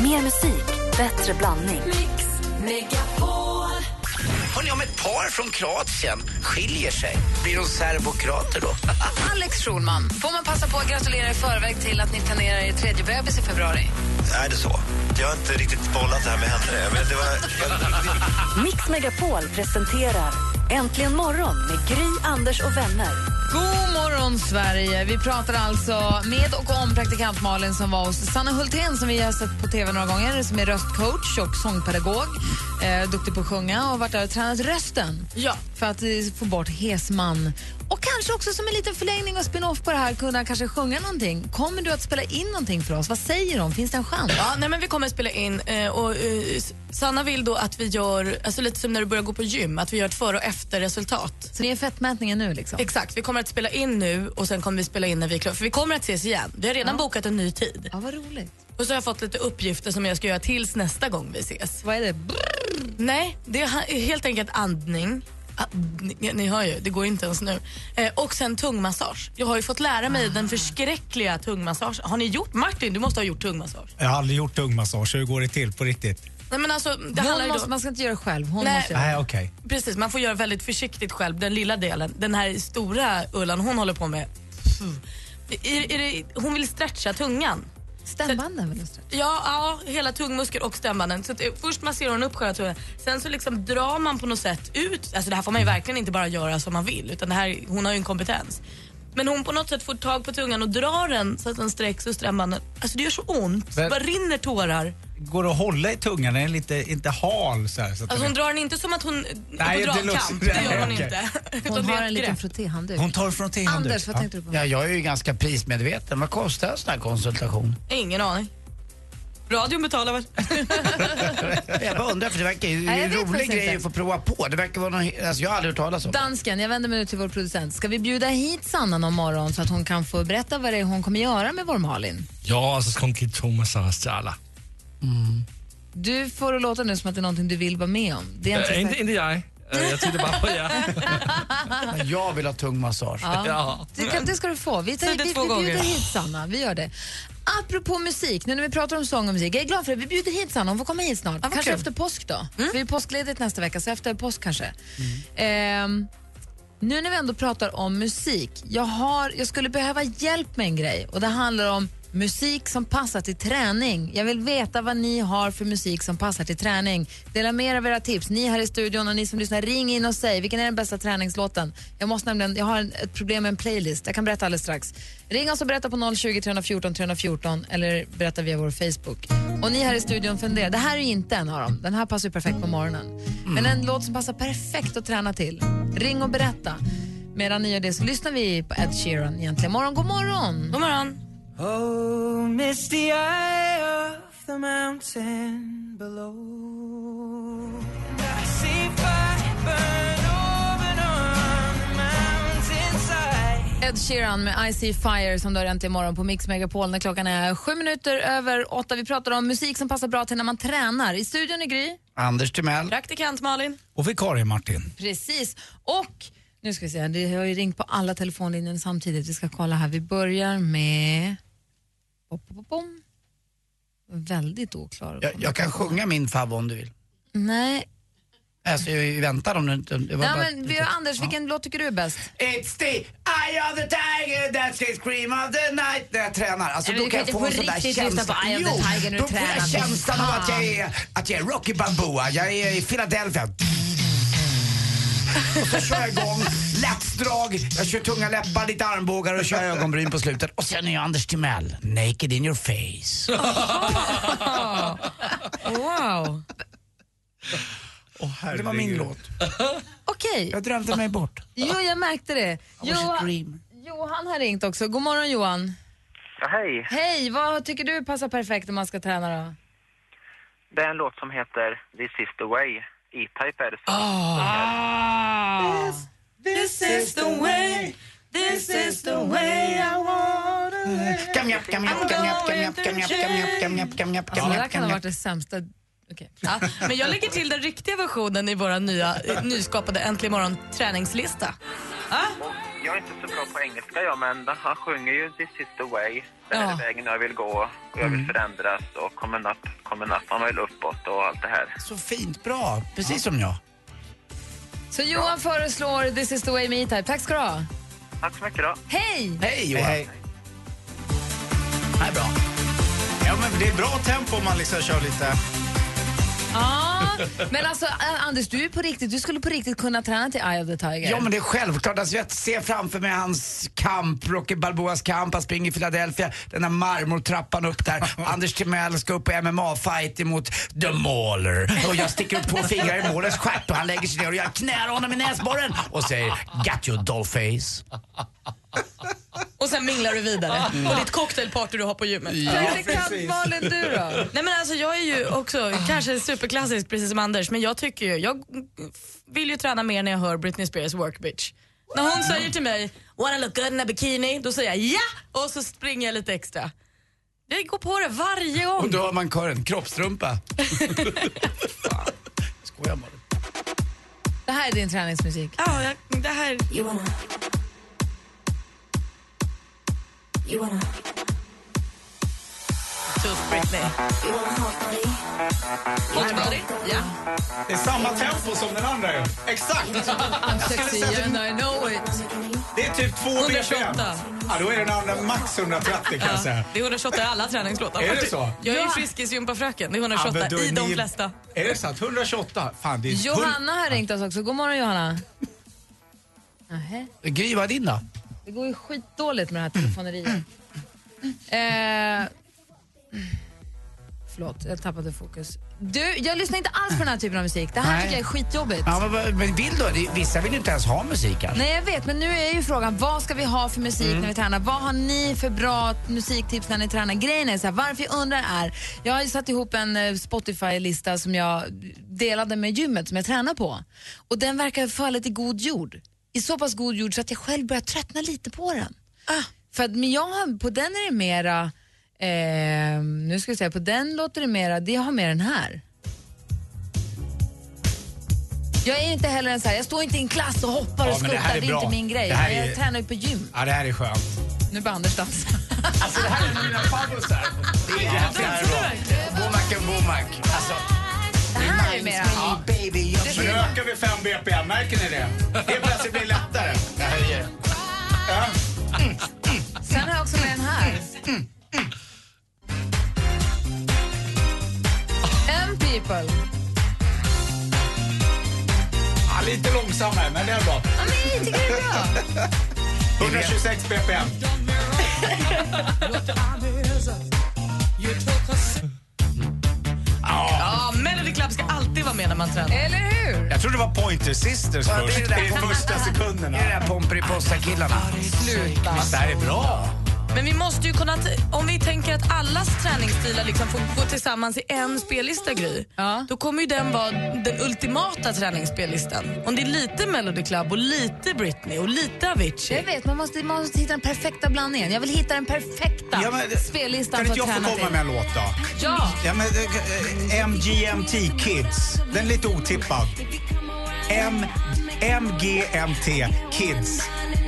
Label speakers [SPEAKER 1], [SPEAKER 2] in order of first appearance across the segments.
[SPEAKER 1] Mer musik, bättre blandning.
[SPEAKER 2] Mix Megapol.
[SPEAKER 3] Hörrni, om ett par från Kroatien skiljer sig, blir de serbokrater då?
[SPEAKER 4] Alex Schulman, får man passa på att gratulera i förväg till att ni planerar er tredje bebis i februari?
[SPEAKER 5] Är det så? Jag har inte riktigt bollat det här med henne. Men det var...
[SPEAKER 1] Mix Megapol presenterar Äntligen morgon med Gry, Anders och vänner.
[SPEAKER 4] God morgon, Sverige! Vi pratar alltså med och om praktikant Malin som var hos Sanna Hultén som vi har sett på tv några gånger, som är röstcoach och sångpedagog. Eh, duktig på att sjunga och varit där och tränat rösten
[SPEAKER 6] Ja.
[SPEAKER 4] för att eh, få bort hesman. Och kanske också som en liten förlängning och spin-off på det här kunna kanske sjunga någonting. Kommer du att spela in någonting för oss? Vad säger de? Finns det en chans?
[SPEAKER 6] Ja, nej, men vi kommer att spela in eh, och eh, Sanna vill då att vi gör, alltså lite som när du börjar gå på gym, att vi gör ett före och efter resultat.
[SPEAKER 4] Så det är fettmätningen nu liksom?
[SPEAKER 6] Exakt, vi kommer att spela in nu och sen kommer vi spela in när vi är klara. För vi kommer att ses igen. Vi har redan bokat en ny tid.
[SPEAKER 4] Ja, vad roligt.
[SPEAKER 6] Och så har jag fått lite uppgifter som jag ska göra tills nästa gång vi ses.
[SPEAKER 4] Vad är det?
[SPEAKER 6] Nej, det är ha- helt enkelt andning. Ah, Ni, ni hör ju, det går inte ens nu. Eh, och sen tungmassage. Jag har ju fått lära mig den förskräckliga tungmassage. Har ni gjort, Martin, du måste ha gjort tungmassage.
[SPEAKER 7] Jag har aldrig gjort tungmassage. Hur går det till på riktigt?
[SPEAKER 6] Nej men alltså, det handlar
[SPEAKER 4] Hon
[SPEAKER 6] ju då...
[SPEAKER 4] måste, man ska inte göra själv. Hon
[SPEAKER 6] Nej.
[SPEAKER 4] måste göra.
[SPEAKER 7] Nej, okej.
[SPEAKER 6] Precis, man får göra väldigt försiktigt själv, den lilla delen. Den här stora Ullan hon håller på med, pff, är, är det, hon vill stretcha tungan.
[SPEAKER 4] Stämbanden väl? Astrid?
[SPEAKER 6] Ja, ja, hela tungmuskeln och stämbanden. Så att, eh, först masserar hon upp själva tungan, sen så liksom drar man på något sätt ut. Alltså det här får man ju verkligen inte bara göra som man vill, utan det här, hon har ju en kompetens. Men hon på något sätt får tag på tungan och drar den så att den sträcks och stämbanden. Alltså det gör så ont, det
[SPEAKER 7] Men-
[SPEAKER 6] bara rinner tårar.
[SPEAKER 7] Går det att hålla i tungan? Den är lite, inte hal så här. Så att
[SPEAKER 6] Alltså
[SPEAKER 7] den
[SPEAKER 6] hon
[SPEAKER 7] är-
[SPEAKER 6] drar den inte som att hon,
[SPEAKER 7] Nej,
[SPEAKER 6] hon
[SPEAKER 7] det
[SPEAKER 6] drar en
[SPEAKER 7] låter-
[SPEAKER 6] kamp, det gör hon
[SPEAKER 7] Nej, okej.
[SPEAKER 6] inte. Utan
[SPEAKER 4] Hon
[SPEAKER 6] det är
[SPEAKER 4] har
[SPEAKER 6] ett
[SPEAKER 4] en liten
[SPEAKER 6] grepp.
[SPEAKER 4] frottéhandduk.
[SPEAKER 7] hon tar från till
[SPEAKER 4] Anders, vad tänkte du på?
[SPEAKER 3] Ja, jag är ju ganska prismedveten. Vad kostar en sån här konsultation?
[SPEAKER 6] Ingen aning. Radion betalar väl?
[SPEAKER 3] Jag bara undrar, för det verkar ju det är
[SPEAKER 4] Nej, jag
[SPEAKER 3] en
[SPEAKER 4] vet
[SPEAKER 3] rolig
[SPEAKER 4] faktiskt
[SPEAKER 3] grej
[SPEAKER 4] inte.
[SPEAKER 3] att få prova på. Det verkar vara någon, alltså jag har aldrig hört talas om det.
[SPEAKER 4] Dansken, jag vänder mig nu till vår producent. Ska vi bjuda hit Sanna någon morgon så att hon kan få berätta vad det är hon kommer göra med vår Malin?
[SPEAKER 8] Ja, alltså ska hon ge tungmassage till alla.
[SPEAKER 4] Du får det låta nu som att det är någonting du vill vara med om. Det är inte
[SPEAKER 8] Äh,
[SPEAKER 4] säkert.
[SPEAKER 8] inte, inte jag. Äh, jag tittar bara på er.
[SPEAKER 4] Oh.
[SPEAKER 3] Men jag vill ha tung massage.
[SPEAKER 8] Ja.
[SPEAKER 4] Det, kan, det ska du få. Vi, tar, vi,
[SPEAKER 6] Säg det
[SPEAKER 4] vi
[SPEAKER 6] två gånger.
[SPEAKER 4] bjuder hit Sanna. Vi gör det. Apropå musik, nu när vi pratar om sång och musik. Jag är glad för det. Vi bjuder hit Sanna. Hon får komma hit snart.
[SPEAKER 6] Ah, vad
[SPEAKER 4] kanske
[SPEAKER 6] kul. Mm.
[SPEAKER 4] efter påsk då. För vi är påskledigt nästa vecka, så efter påsk kanske. Ehm, nu när vi ändå pratar om musik. Jag, har, jag skulle behöva hjälp med en grej och det handlar om musik som passar till träning. Jag vill veta vad ni har för musik som passar till träning. Dela med er av era tips. Ni här i studion och ni som lyssnar, ring in och säg vilken är den bästa träningslåten. Jag, måste nämligen, jag har en, ett problem med en playlist. Jag kan berätta alldeles strax. Ring oss och berätta på 020 314 314 eller berätta via vår Facebook. Och ni här i studion funderar. Det här är ju inte en av dem. Den här passar ju perfekt på morgonen. Men en låt som passar perfekt att träna till. Ring och berätta. Medan ni gör det så lyssnar vi på Ed Sheeran egentligen. Morgon, god morgon!
[SPEAKER 6] God morgon.
[SPEAKER 9] Oh, misty eye of the mountain below. And I see fire burn open on the mountainside.
[SPEAKER 4] Ed Sheeran med I See Fire som du har äntligen morgon på Mix Megapol när klockan är sju minuter över åtta. Vi pratar om musik som passar bra till när man tränar. I studion är Gry.
[SPEAKER 3] Anders Timell.
[SPEAKER 6] Praktikant Malin.
[SPEAKER 7] Och vikarie Martin.
[SPEAKER 4] Precis. Och nu ska vi se, det har ju ringt på alla telefonlinjer samtidigt. Vi ska kolla här. Vi börjar med... Bom, bom, bom, bom. Väldigt oklar.
[SPEAKER 3] Jag, jag kan sjunga min favvo om du vill.
[SPEAKER 4] Nej,
[SPEAKER 3] Alltså jag väntar om du inte... det var
[SPEAKER 4] Nej
[SPEAKER 3] bara-
[SPEAKER 4] men vi har Anders, vilken låt tycker du är bäst?
[SPEAKER 3] It's the eye of the tiger that can scream of the night när jag tränar. Alltså,
[SPEAKER 4] Nej,
[SPEAKER 3] då
[SPEAKER 4] men
[SPEAKER 3] kan jag
[SPEAKER 4] du kan
[SPEAKER 3] få en
[SPEAKER 4] inte på
[SPEAKER 3] sån där
[SPEAKER 4] riktigt lyssna
[SPEAKER 3] känsla.
[SPEAKER 4] på Eye of
[SPEAKER 3] Jo,
[SPEAKER 4] the Tiger när du
[SPEAKER 3] då får
[SPEAKER 4] tränar.
[SPEAKER 3] jag känslan av att jag, är, att jag är Rocky Balboa. Jag är i Philadelphia. Och så kör jag igång latsdrag, jag kör tunga läppar, lite armbågar och kör ögonbryn på slutet. Och sen är jag Anders Timell, naked in your face.
[SPEAKER 4] Wow.
[SPEAKER 3] Det var min låt.
[SPEAKER 4] Okej,
[SPEAKER 3] Jag drömde mig bort.
[SPEAKER 4] jo jag märkte det.
[SPEAKER 3] was a
[SPEAKER 4] Johan,
[SPEAKER 3] dream.
[SPEAKER 4] Johan har ringt också. God morgon Johan.
[SPEAKER 10] Ja, hej.
[SPEAKER 4] Hej, vad tycker du passar perfekt om man ska träna då?
[SPEAKER 10] Det är en låt som heter This is the way. E-Type är det som
[SPEAKER 11] Ah.
[SPEAKER 6] This is the way, this is the way I want
[SPEAKER 3] Kamjapp, kamjapp, kamjapp, kamjapp, kamjapp, kamjapp, kamjapp, kamjapp,
[SPEAKER 4] Ja, det där
[SPEAKER 3] kamjapp,
[SPEAKER 4] kan ha varit
[SPEAKER 3] kamjapp.
[SPEAKER 4] det sämsta. Okej.
[SPEAKER 6] ja, Men jag lägger till den riktiga versionen i vår nya, eh, nyskapade Äntligen morgon träningslista.
[SPEAKER 10] Och jag är inte så bra på engelska jag, men han sjunger ju This is the way. Det här
[SPEAKER 6] Ja.
[SPEAKER 11] Mm.
[SPEAKER 10] är vägen jag vill gå och jag vill förändras och coming up, kommer nappan väl uppåt och allt det här.
[SPEAKER 3] Så fint, bra. Precis som jag.
[SPEAKER 4] Så Johan föreslår This is the way me type. Tack ska du ha.
[SPEAKER 10] Tack så mycket då.
[SPEAKER 4] Hej!
[SPEAKER 3] Hej Johan.
[SPEAKER 7] Hej,
[SPEAKER 3] Det här är bra.
[SPEAKER 7] Ja, men det är bra tempo om man liksom kör lite...
[SPEAKER 4] Ja, men alltså Ä- Anders, du är på riktigt, du skulle på riktigt kunna träna till Eye of the Tiger.
[SPEAKER 3] Ja men det är självklart. Alltså, jag ser framför mig hans kamp, Rocky Balboas kamp, han springer i Philadelphia, den där marmortrappan upp där. Anders Timell ska upp på MMA-fight emot The Mauler. Och jag sticker upp två fingrar i Maulers stjärt och han lägger sig ner och jag knär honom i näsborren och säger “Got you dollface”.
[SPEAKER 6] Och sen minglar du vidare på ditt cocktailparty du har på gymmet.
[SPEAKER 4] Predikantmalen, du då?
[SPEAKER 6] Nej men alltså jag är ju också kanske superklassisk precis som Anders men jag tycker ju, jag vill ju träna mer när jag hör Britney Spears work bitch. När hon säger till mig wanna look good in a bikini, då säger jag ja och så springer jag lite extra. Jag går på det varje gång.
[SPEAKER 3] Och då har man kören, kroppstrumpa. Fan. Skojar bara.
[SPEAKER 4] Det här är din träningsmusik.
[SPEAKER 6] Ja, jag, det här... Tuff Britney. Hot body. Ja.
[SPEAKER 7] Det är samma tempo som den andra ju. Exakt!
[SPEAKER 4] I'm sexy and I know it.
[SPEAKER 7] Det är typ 2 BPM.
[SPEAKER 6] 128.
[SPEAKER 7] Ja, då är den andra max 130 kan jag säga.
[SPEAKER 6] Det är 128 i alla träningslåtar.
[SPEAKER 7] Är det så?
[SPEAKER 6] Jag är ju friskisgympafröken. Det är
[SPEAKER 7] Ja,
[SPEAKER 6] 128
[SPEAKER 7] men då är
[SPEAKER 6] i de
[SPEAKER 7] ni-
[SPEAKER 6] flesta.
[SPEAKER 7] Är det sant? 128? Fan, det är...
[SPEAKER 4] Johanna har ringt oss också. God morgon Johanna. Nähä,
[SPEAKER 3] Gry, vad är din då?
[SPEAKER 4] det går ju skitdåligt med det här telefoneriet. Eh, förlåt, jag tappade fokus. Du, jag lyssnar inte alls på den här typen av musik. Det här
[SPEAKER 3] Nej.
[SPEAKER 4] tycker jag är skitjobbigt.
[SPEAKER 3] Ja, men, vad- men vill du? Det- Vissa vill ju inte ens ha musik alltså. här.
[SPEAKER 4] Nej, jag vet, men nu är ju frågan vad ska vi ha för musik
[SPEAKER 7] Mm.
[SPEAKER 4] när vi tränar? Vad har ni för bra musiktips när ni tränar? Grejen är så här, varför jag undrar är, jag har ju satt ihop en eh, Spotify-lista som jag delade med gymmet som jag tränar på och den verkar falla i god jord. I så pass god jord så att jag själv börjar tröttna lite på den.
[SPEAKER 7] Ah.
[SPEAKER 4] För att, men jag har, på den är det mera, eh, nu ska jag säga, på den låter det mera, det har mer den här. Jag är inte heller en så här, jag står inte i en klass och hoppar
[SPEAKER 7] Ja,
[SPEAKER 4] och
[SPEAKER 7] men det
[SPEAKER 4] skuttar,
[SPEAKER 7] här är
[SPEAKER 4] det är,
[SPEAKER 7] bra.
[SPEAKER 4] inte min grej.
[SPEAKER 7] Det här
[SPEAKER 4] Nej,
[SPEAKER 7] är-
[SPEAKER 4] Jag tränar ju på gym.
[SPEAKER 7] Ja, det här är skönt.
[SPEAKER 4] Nu börjar Anders dansa.
[SPEAKER 3] Alltså det här är mina pausar. Det är det här är bra. Bomack and bomack. Alltså,
[SPEAKER 4] Det här är mera...
[SPEAKER 3] ja. baby, jag
[SPEAKER 7] Men nu ökar vi 5 BPM, märker ni det? Helt plötsligt blir det lättare. Jag höjer. Ja.
[SPEAKER 4] Sen har jag också med den här. mm. M people.
[SPEAKER 7] Ja, lite långsammare, men det är bra.
[SPEAKER 4] Ja, men jag tycker det är bra.
[SPEAKER 7] 126 BPM.
[SPEAKER 6] Ja, Melody Club ska alltid vara med när man tränar.
[SPEAKER 4] Eller hur?
[SPEAKER 7] Jag trodde det var Pointer Sisters
[SPEAKER 3] Ja, det är
[SPEAKER 7] först.
[SPEAKER 3] det där.
[SPEAKER 7] I första sekunderna.
[SPEAKER 3] Det är det där Pomperipossa-killarna.
[SPEAKER 4] Sluta.
[SPEAKER 3] Det här är bra.
[SPEAKER 6] Men vi måste ju kunna, t- om vi tänker att allas träningsstilar liksom får gå tillsammans i en spellista Gry,
[SPEAKER 4] Ja.
[SPEAKER 6] då kommer ju den vara den ultimata träningsspellistan. Om det är lite Melody Club och lite Britney och lite
[SPEAKER 4] Jag
[SPEAKER 6] Avicii.
[SPEAKER 4] vet, man måste, man måste hitta den perfekta blandningen. Jag vill hitta den perfekta
[SPEAKER 7] Ja, men-
[SPEAKER 4] spellistan
[SPEAKER 7] Kan
[SPEAKER 4] för
[SPEAKER 7] inte
[SPEAKER 4] att
[SPEAKER 7] jag få
[SPEAKER 4] träna
[SPEAKER 7] komma
[SPEAKER 4] till.
[SPEAKER 7] med en låt då?
[SPEAKER 4] Ja,
[SPEAKER 7] Ja, men, eh, eh, MGMT Kids. Den är lite otippad. M, MGMT Kids.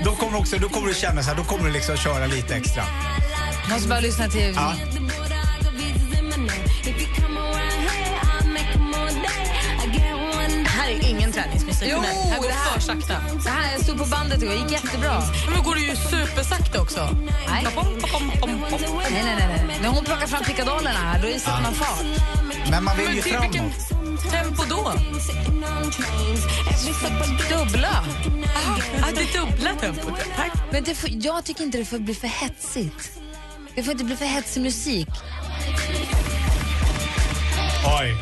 [SPEAKER 7] Då kommer, också, då kommer du känna så här, då kommer du liksom köra lite extra.
[SPEAKER 4] måste bara lyssna till...
[SPEAKER 7] Ja.
[SPEAKER 6] Det här är ingen träningsmusik
[SPEAKER 4] Jo,
[SPEAKER 6] för mig. Det här går
[SPEAKER 4] det här-
[SPEAKER 6] för sakta.
[SPEAKER 4] Det här, jag stod på bandet igår, det gick jättebra.
[SPEAKER 6] Men då går det ju supersakta också.
[SPEAKER 4] Nej.
[SPEAKER 6] Pom, pom, pom, pom.
[SPEAKER 4] Nej, nej, nej, nej. När hon plockar fram pickadollerna här, då sätter man fart.
[SPEAKER 7] Men man vill
[SPEAKER 6] Men
[SPEAKER 7] ju
[SPEAKER 6] till vilken
[SPEAKER 7] framåt.
[SPEAKER 6] tempo då?
[SPEAKER 4] Dubbla.
[SPEAKER 6] Ja, det är dubbla tempot. Tack.
[SPEAKER 4] Men det får, jag tycker inte det får bli för hetsigt. Det får inte bli för hetsig musik.
[SPEAKER 7] Oj.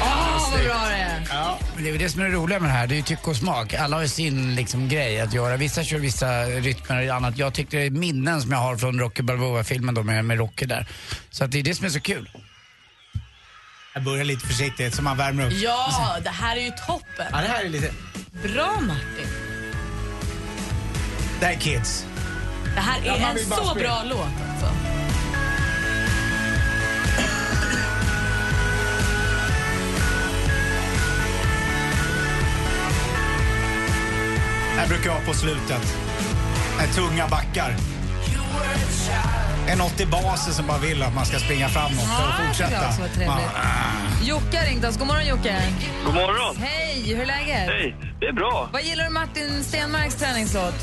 [SPEAKER 4] Åh, vad bra det är.
[SPEAKER 3] Men det är väl det som är det roliga med det här. Det är ju tycke och smak. Alla har ju sin liksom, grej att göra. Vissa kör vissa rytmer och annat. Jag tyckte det är minnen som jag har från Rocky Balboa-filmen då med, med Rocky där. Så att det är det som är så kul.
[SPEAKER 7] Jag börjar lite försiktigt så man värmer upp.
[SPEAKER 6] Ja, det här är ju toppen.
[SPEAKER 7] Ja, det här är lite...
[SPEAKER 6] Bra Martin.
[SPEAKER 7] Det här är Kids.
[SPEAKER 6] Det här är
[SPEAKER 7] Ja, man
[SPEAKER 6] en
[SPEAKER 7] vill bara
[SPEAKER 6] så
[SPEAKER 7] spela.
[SPEAKER 6] bra låt alltså.
[SPEAKER 7] Det här brukar jag ha på slutet. När tunga backar.
[SPEAKER 9] You were a
[SPEAKER 7] En
[SPEAKER 9] child
[SPEAKER 7] 80-baser som bara vill att man ska springa framåt och
[SPEAKER 4] Ja, det var
[SPEAKER 7] fortsätta.
[SPEAKER 4] också vad trevligt. Jocke har ringt oss. God morgon Jocke.
[SPEAKER 12] God morgon.
[SPEAKER 4] Hej, hur är läget?
[SPEAKER 12] Hej, det är bra.
[SPEAKER 4] Vad gillar du Martin Stenmarks träningslåt?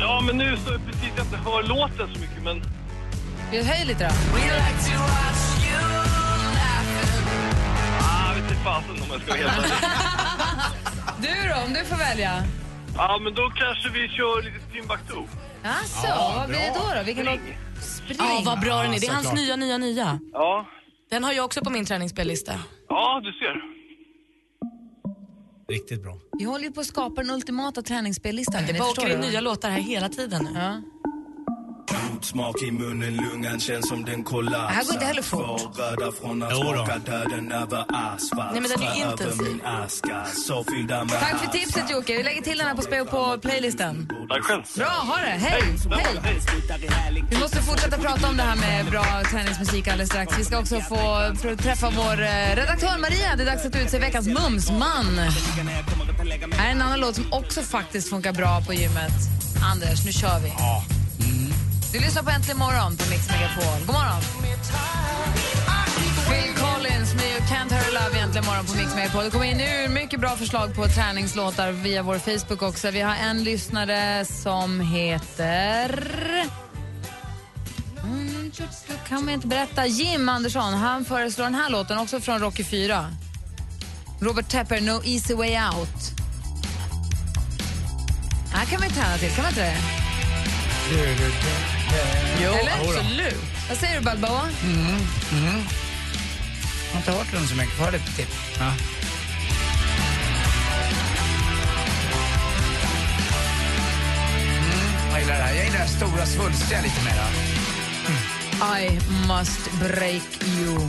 [SPEAKER 12] Ja, men nu så är det precis jag inte hör låten så mycket, men...
[SPEAKER 4] Vi höjer lite då.
[SPEAKER 12] Ah, vet inte fasen om jag ska vara helt ärlig.
[SPEAKER 4] Du då, om du får välja?
[SPEAKER 12] Ja, men då kanske vi kör lite Timbuktu.
[SPEAKER 4] Alltså,
[SPEAKER 12] Ja,
[SPEAKER 4] vad blir det
[SPEAKER 12] bra.
[SPEAKER 4] då? då? Vilken låt?
[SPEAKER 6] Ja, vad bra den är. Det är
[SPEAKER 12] Ja,
[SPEAKER 6] hans
[SPEAKER 12] såklart.
[SPEAKER 6] nya, nya, nya.
[SPEAKER 12] Ja.
[SPEAKER 6] Den har jag också på min träningsspellista.
[SPEAKER 12] Ja, du ser.
[SPEAKER 7] Riktigt bra.
[SPEAKER 4] Vi håller ju på att skapa den ultimata träningsspellistan.
[SPEAKER 6] Det
[SPEAKER 4] ni
[SPEAKER 6] bara
[SPEAKER 4] förstår
[SPEAKER 6] åker in
[SPEAKER 4] det, va?
[SPEAKER 6] nya låtar här hela tiden nu.
[SPEAKER 13] Smak i munnen, lungan känns som den
[SPEAKER 4] Det
[SPEAKER 13] kollapsar.
[SPEAKER 4] här går inte heller fort.
[SPEAKER 13] Förrädda från att
[SPEAKER 4] Jo då.
[SPEAKER 13] smaka döden över asfalt.
[SPEAKER 4] Nej, men den är
[SPEAKER 13] Strö över
[SPEAKER 4] intensiv.
[SPEAKER 13] min aska, så fyllda med
[SPEAKER 4] Tack för
[SPEAKER 13] asfalt.
[SPEAKER 4] tipset Jocke. Vi lägger till den här på, spe- på playlisten.
[SPEAKER 12] Tack själv.
[SPEAKER 4] Bra, ha det. Hej! Hej! Vi måste fortsätta prata om det här med bra träningsmusik alldeles strax. Vi ska också få få träffa vår eh, redaktör Maria. Det är dags att utse veckans mumsman. Här är en annan låt som också faktiskt funkar bra på gymmet. Anders, nu kör vi. Du lyssnar på Äntligen morgon på Mix Megapol. God morgon! Phil Collins med You Can't Hurry Love egentligen morgon på Mix Megapol. Det kommer in nu mycket bra förslag på träningslåtar via vår Facebook också. Vi har en lyssnare som heter... Mm, Du kan man inte berätta. Jim Andersson, han föreslår den här låten också från Rocky 4. Robert Tepper, No Easy Way Out. Här kan man ju träna till, kan man inte det?
[SPEAKER 3] Jo,
[SPEAKER 4] Eller?
[SPEAKER 3] jo då.
[SPEAKER 4] Vad säger du, Balboa?
[SPEAKER 3] Mm, mm. Jag har inte hört den så mycket. Får jag lite Mm, till? Ja. Mm, jag gillar det här. Jag gillar det här stora svulstiga lite mera.
[SPEAKER 4] I must break you.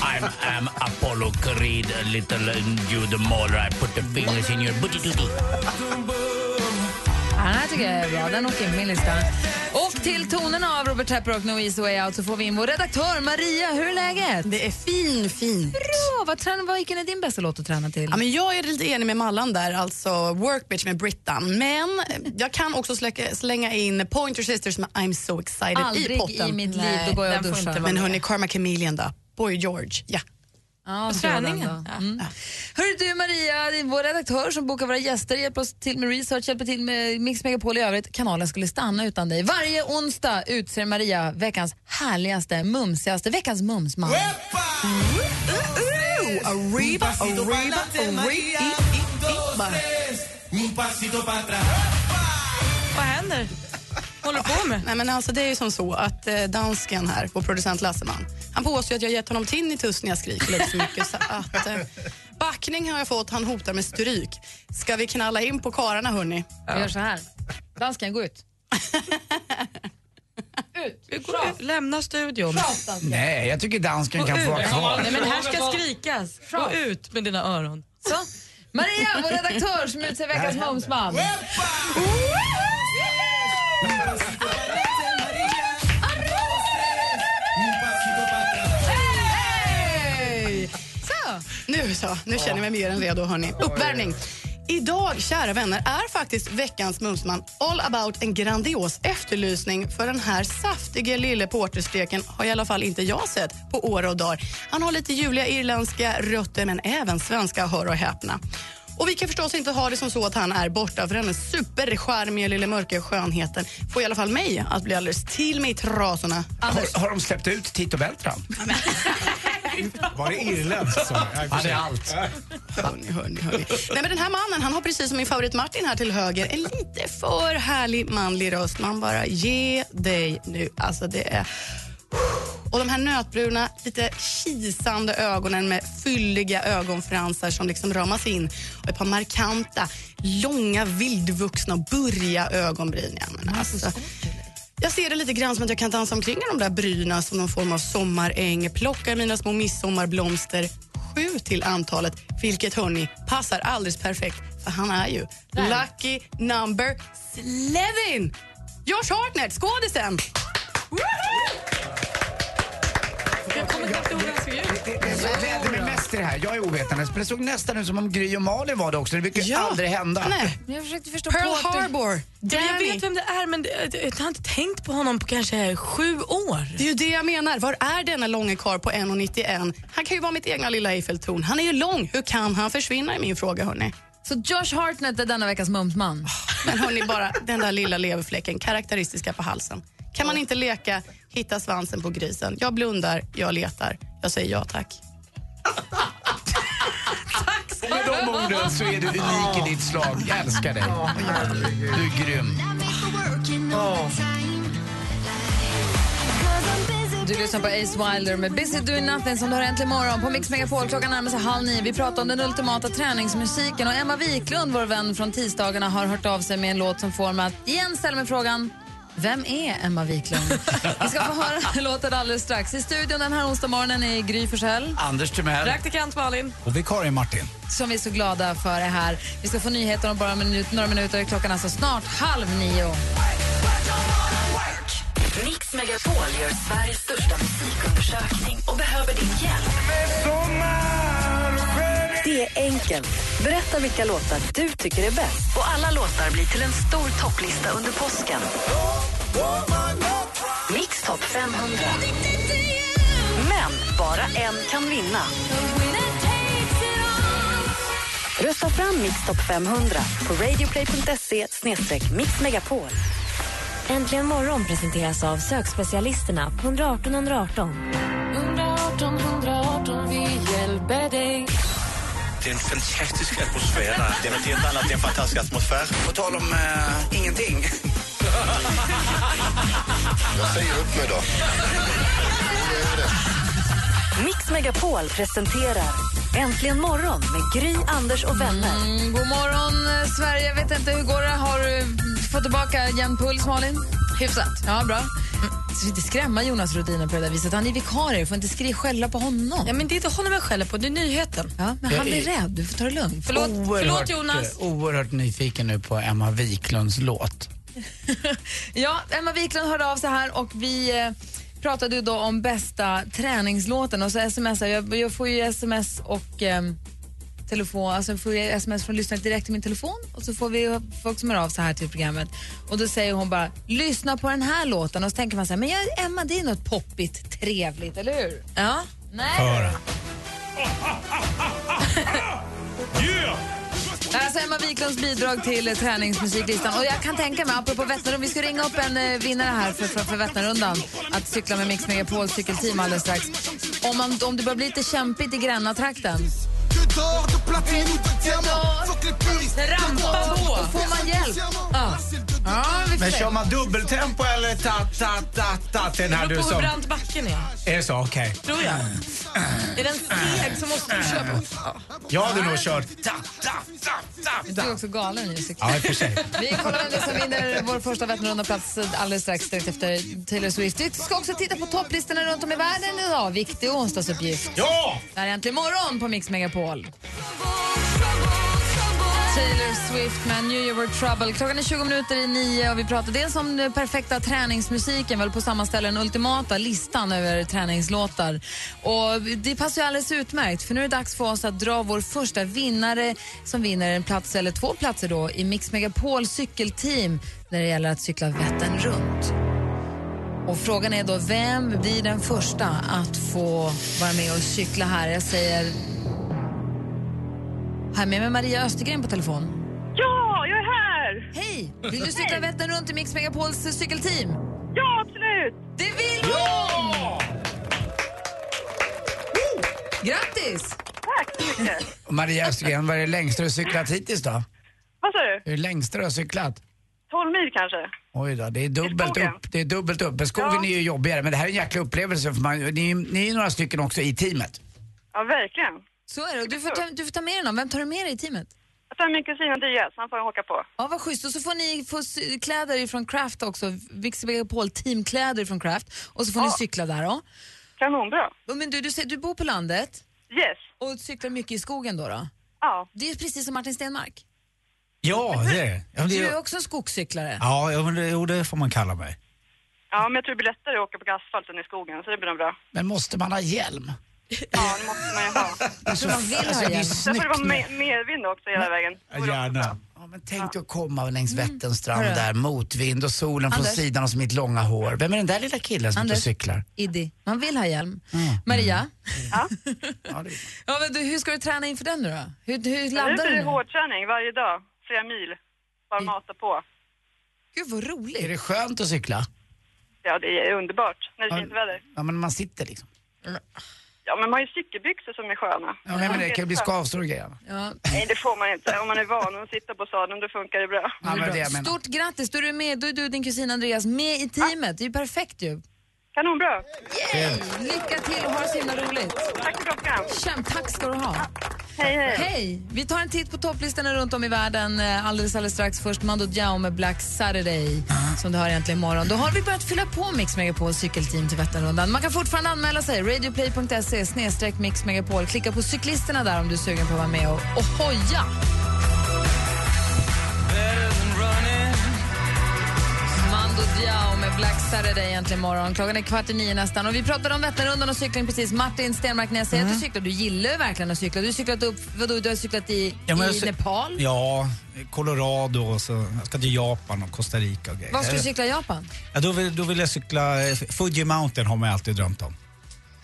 [SPEAKER 4] Ah,
[SPEAKER 14] I'm, I'm Apollo Creed, a little uh, you the mauler. I put the fingers in your booty doo
[SPEAKER 4] Ja, Den här tycker jag är bra. Den åker in på min lista. Och till tonerna av Robert Tepper och No Easy Way Out så får vi in vår redaktör Maria. Hur är läget? Det är fin, fint. Bra! Vad, tränar, vad vilken är din bästa låt att träna till?
[SPEAKER 11] Ja, men jag är lite enig med Mallan där, alltså Workbitch med Brittan. Men jag kan också släcka, slänga in Pointer Sisters med I'm so excited
[SPEAKER 4] Aldrig
[SPEAKER 11] i potten.
[SPEAKER 4] i mitt liv, då går jag och
[SPEAKER 11] den får
[SPEAKER 4] duschar.
[SPEAKER 11] inte vara Men hörni, Karma Chameleon då? Boy George, ja.
[SPEAKER 4] Ja,
[SPEAKER 11] På
[SPEAKER 4] bra den
[SPEAKER 11] träningen.
[SPEAKER 4] då. Mm. Hörru du Maria, det är vår redaktör som bokar våra gäster, hjälper oss till med research, hjälper till med Mix Megapol i övrigt. Kanalen skulle stanna utan dig. Varje onsdag utser Maria veckans härligaste, mumsigaste, veckans mumsman.
[SPEAKER 11] Arriba, arriba,
[SPEAKER 6] Vad händer? Håller du på med?
[SPEAKER 11] Nej, men alltså, det är ju som så att eh, dansken här, vår producent Lasseman, han påstår att jag gett honom tinnitus när jag skriker lite för mycket. Så att, eh, backning har jag fått, han hotar med stryk. Ska vi knalla in på kararna hörni?
[SPEAKER 4] Vi gör så här. Dansken, gå ut.
[SPEAKER 6] ut! Lämna studion.
[SPEAKER 3] Nej, jag tycker dansken kan få vara kvar.
[SPEAKER 6] Nej, men här ska skrikas. Gå ut med dina öron.
[SPEAKER 4] Så. Maria, vår redaktör som utser veckans mumsman.
[SPEAKER 11] Hej! Nu så, nu känner jag mig mer än redo hörni. Uppvärmning. Idag, kära vänner, är faktiskt veckans Mumsman all about en grandios efterlysning för den här saftige lille portersteken har i alla fall inte jag sett på år och dagar. Han har lite juliga irländska rötter men även svenska, hör och häpna. Och vi kan förstås inte ha det som så att han är borta för den superskärmiga lille mörka skönheten får i alla fall mig att bli alldeles till mig i trasorna.
[SPEAKER 3] Har, har de släppt ut Tito Beltran?
[SPEAKER 7] Var det irländskt? sa jag?
[SPEAKER 3] Ja, det är allt.
[SPEAKER 11] Hörni, hörni, hörni. Nej, men den här mannen han har precis som min favorit Martin här till höger en lite för härlig manlig röst. Man bara ge dig nu. Alltså det är... Och de här nötbruna, lite kisande ögonen med fylliga ögonfransar som liksom ramas in och ett par markanta, långa, vildvuxna och burriga ögonbryn. Ja, men alltså, jag ser det lite grann som att jag kan dansa omkring i de där bryna som någon form av sommaräng, plocka mina små midsommarblomster, sju till antalet, vilket hörni passar alldeles perfekt för han är ju lucky number 11! Josh Hartnett, skådisen!
[SPEAKER 6] Jag kommer knappt ihåg hur han såg ut.
[SPEAKER 3] Det som gläder mig mest i det här, jag är ovetandes, men det såg nästan ut som om Gry och Malin var det också. Det brukar ju aldrig hända.
[SPEAKER 4] Men jag försökte förstå
[SPEAKER 11] Pearl
[SPEAKER 4] Porter.
[SPEAKER 11] Harbor.
[SPEAKER 6] Ja, jag vet vem det är men det- jag har inte tänkt på honom på kanske sju år.
[SPEAKER 11] Det är ju det jag menar. Var är denna långe karl på 1,91? Han kan ju vara mitt egna lilla Eiffeltorn. Han är ju lång. Hur kan han försvinna i min fråga, hörni?
[SPEAKER 4] Så Josh Hartnett är denna veckas mumsman?
[SPEAKER 11] Men hörni, bara den där lilla leverfläcken, karaktäristiska på halsen. Kan man inte leka hitta svansen på grisen? Jag blundar, jag letar, jag säger ja tack.
[SPEAKER 3] Och med de orden så är du unik i ditt slag. Jag älskar dig. Du är grym.
[SPEAKER 4] Du lyssnar på Ace Wilder med Busy Doing Nothing som du har äntligen morgon på Mix Megapol. Klockan närmar sig halv nio. Vi pratar om den ultimata träningsmusiken och Emma Wiklund, vår vän från tisdagarna, har hört av sig med en låt som får mig att igen ställa mig frågan vem är Emma Wiklund? Vi ska få höra låten alldeles strax. I studion den här onsdag morgonen är Gry Forssell.
[SPEAKER 3] Anders Timell.
[SPEAKER 4] Praktikant Malin.
[SPEAKER 7] Och vikarie Martin.
[SPEAKER 4] Som vi är så glada för är här. Vi ska få nyheter om bara en minut, några minuter. Klockan är alltså snart halv nio. Mm,
[SPEAKER 1] Mix Megapol gör Sveriges största musikundersökning och behöver din hjälp. Det är enkelt. Berätta vilka låtar du tycker är bäst. Och alla låtar blir till en stor topplista under påsken. Mix Top 500. Men bara en kan vinna. Rösta fram Mix Top 500 på radioplay.se mixmegapol.
[SPEAKER 15] Äntligen morgon presenteras av sökspecialisterna på 118 118.
[SPEAKER 2] 118 118, vi hjälper dig.
[SPEAKER 5] Det är en fantastisk atmosfär här. Det är något helt annat än en fantastisk atmosfär.
[SPEAKER 3] På tal om eh, ingenting.
[SPEAKER 5] Jag säger upp mig då.
[SPEAKER 1] Mix Megapol presenterar Äntligen morgon med Gry, Anders och vänner.
[SPEAKER 4] Mm, god morgon, eh, Sverige. Jag vet inte, hur går det? Har du fått tillbaka jämn puls, Malin? Hyfsat. Ja, bra. Mm, Du får inte skrämma Jonas Rhodiner på det där viset. Han är vikarie. Du får inte skri- skälla på honom. Ja,
[SPEAKER 6] men det är inte honom jag skäller på, det är nyheten.
[SPEAKER 4] Ja, men han blir rädd. Du får ta det lugnt.
[SPEAKER 3] Oerhört, eh, Oerhört nyfiken nu på Emma Wiklunds låt.
[SPEAKER 4] Ja, Emma Wiklund hörde av sig här och vi eh, pratade ju då om bästa träningslåten och så smsar jag. Jag får ju sms och ehm, telefon, alltså jag får ju sms från lyssnare direkt till min telefon och så får vi folk som hör av sig här till programmet och då säger hon bara lyssna på den här låten och så tänker man så här, men jag, Emma det är något poppigt trevligt, eller hur? Ja. Nej.
[SPEAKER 2] Höra.
[SPEAKER 4] Alltså Emma Wiklunds bidrag till eh, träningsmusiklistan. Och jag kan tänka mig, apropå Vätternrundan, vi ska ringa upp en eh, vinnare här för, för, för Vätternrundan att cykla med Mix Megapol cykelteam alldeles strax. Om, man, om det börjar bli lite kämpigt i Gränna-trakten.
[SPEAKER 2] Trampa på!
[SPEAKER 4] Då får man hjälp. Ja. Ja, vi får
[SPEAKER 7] Men
[SPEAKER 4] se.
[SPEAKER 7] kör man dubbeltempo eller tat, tat, tat, tat, den här du
[SPEAKER 6] Det beror på hur
[SPEAKER 7] som...
[SPEAKER 6] brant backen är,
[SPEAKER 7] Är det så? Okej.
[SPEAKER 6] tror jag. Är den seg så måste du köra på.
[SPEAKER 7] Jag hade nog kört...
[SPEAKER 4] Du är också galen ju. Sigge.
[SPEAKER 7] Ja, i och för sig.
[SPEAKER 4] Vi kollar vem det är som vinner vår första Vätternrundaplats alldeles strax direkt efter Taylor Swift. Vi ska också titta på topplistorna runt om i världen idag. Viktig onsdagsuppgift.
[SPEAKER 7] Ja!
[SPEAKER 4] Det här är Äntligen morgon på Mix Megapol. Taylor Swift med New Year Were Trouble. Klockan är 20 minuter i nio och vi pratar dels om den perfekta träningsmusiken, väl på samma ställe den ultimata listan över träningslåtar. Och det passar ju alldeles utmärkt för nu är det dags för oss att dra vår första vinnare som vinner en plats, eller två platser då, i Mix Megapol cykelteam när det gäller att cykla Vättern runt. Och frågan är då, vem blir den första att få vara med och cykla här? Jag säger... Har jag med mig Maria Östergren på telefon?
[SPEAKER 16] Ja, jag är här!
[SPEAKER 4] Hej! Vill du cykla Vättern runt i Mix Megapols cykelteam?
[SPEAKER 16] Ja, absolut!
[SPEAKER 4] Det vill hon! Grattis!
[SPEAKER 16] Tack så mycket!
[SPEAKER 3] Maria Östergren, vad är det längsta du har cyklat hittills då?
[SPEAKER 16] Vad sa du?
[SPEAKER 3] Hur är det längsta du har cyklat?
[SPEAKER 16] 12 mil kanske?
[SPEAKER 3] Oj då, det är dubbelt
[SPEAKER 16] skogen.
[SPEAKER 3] upp. Det är dubbelt upp. Men skogen är ju jobbigare, men det här är en jäkla upplevelse för man, ni, ni är ju några stycken också i teamet.
[SPEAKER 16] Ja, verkligen.
[SPEAKER 4] Så är det. Och Du får, ta, du får ta med dig någon. Vem tar du med dig i teamet?
[SPEAKER 16] Jag tar min kusin Andreas, han får jag haka på.
[SPEAKER 4] Ja, vad schysst. Och så får ni få sy- kläder från Craft också. Mix Megapol teamkläder från Craft. Och så får ni cykla där då.
[SPEAKER 16] Kanonbra.
[SPEAKER 4] Men du, du, säger- du bor på landet.
[SPEAKER 16] Yes.
[SPEAKER 4] Och cyklar mycket i skogen då? då?
[SPEAKER 16] Ja.
[SPEAKER 4] Det är precis som Martin Stenmark.
[SPEAKER 7] Ja, det är det. Ja, men
[SPEAKER 4] Du
[SPEAKER 7] det
[SPEAKER 4] är
[SPEAKER 7] är-
[SPEAKER 4] också en skogscyklare.
[SPEAKER 7] Ja, jo, men det- jo, det får man kalla mig.
[SPEAKER 16] Ja, men jag tror det blir lättare att åka på asfalt än i skogen, så det blir nog bra.
[SPEAKER 3] Men måste man ha hjälm?
[SPEAKER 16] Ja, det måste man ju ha.
[SPEAKER 3] Jag tror man vill ha Alltså, det är hjälm. snyggt
[SPEAKER 16] Sen får det vara
[SPEAKER 3] nu.
[SPEAKER 16] med, medvind också hela vägen.
[SPEAKER 3] Gärna. Ja, men tänk dig att komma längs Vätterns strand
[SPEAKER 4] Hörru.
[SPEAKER 3] där, motvind och solen från
[SPEAKER 4] Anders.
[SPEAKER 3] sidan och så mitt långa hår. Vem är den där lilla killen som inte
[SPEAKER 4] Anders.
[SPEAKER 3] cyklar?
[SPEAKER 4] Iddi, man vill ha hjälm.
[SPEAKER 3] Mm.
[SPEAKER 4] Maria? Ja. men du, hur ska du träna inför den nu då? Hur, hur
[SPEAKER 16] Nu
[SPEAKER 4] laddar
[SPEAKER 16] blir
[SPEAKER 4] du
[SPEAKER 16] det
[SPEAKER 4] nu?
[SPEAKER 16] hårdträning varje dag, flera mil. Bara
[SPEAKER 3] Mm.
[SPEAKER 16] mata på.
[SPEAKER 4] Gud vad roligt.
[SPEAKER 3] Är det skönt att cykla?
[SPEAKER 16] Ja, det är underbart när det är fint väder.
[SPEAKER 3] Ja, men man sitter liksom.
[SPEAKER 16] Ja, men man har ju cykelbyxor som är sköna.
[SPEAKER 3] Ja, men, men det kan ju bli skavsår och grejer.
[SPEAKER 16] Nej, det får man inte. Om man är van att sitta på sadeln, då funkar det bra.
[SPEAKER 3] Ja, men det är det jag menar.
[SPEAKER 4] Stort grattis, då är du med, då är du och din kusin Andreas med i teamet. Det är ju perfekt ju.
[SPEAKER 16] Kanonbra.
[SPEAKER 4] Yay! Lycka till och ha det så himla roligt.
[SPEAKER 16] Tack för klockan.
[SPEAKER 4] Kämp, tack ska du ha.
[SPEAKER 16] Hej, hej.
[SPEAKER 4] Hej! Vi tar en titt på topplistorna runt om i världen eh, alldeles, alldeles strax. Först Mando Diao med Black Saturday som du hör egentligen imorgon. Då har vi börjat fylla på Mix Megapol cykelteam till Vätternrundan. Man kan fortfarande anmäla sig. Radioplay.se snedstreck Mix Megapol. Klicka på cyklisterna där om du är sugen på att vara med och, och hoja. Mando Diao med Black Saturday egentligen imorgon. Klockan är kvart i nio nästan. Och vi pratade om Vätternrundan och cykling precis. Martin Stenmark, när jag säger
[SPEAKER 7] Mm.
[SPEAKER 4] att du cyklar, du gillar ju verkligen att cykla. Du har cyklat upp, vadå, du har cyklat i,
[SPEAKER 7] Ja, men
[SPEAKER 4] i
[SPEAKER 7] jag cy-
[SPEAKER 4] Nepal.
[SPEAKER 7] Ja, Colorado och så jag ska till Japan och Costa Rica och grejer.
[SPEAKER 4] Var ska du cykla i Japan?
[SPEAKER 7] Ja, då, vill, då vill jag cykla, eh, Fuji Mountain har man alltid drömt om.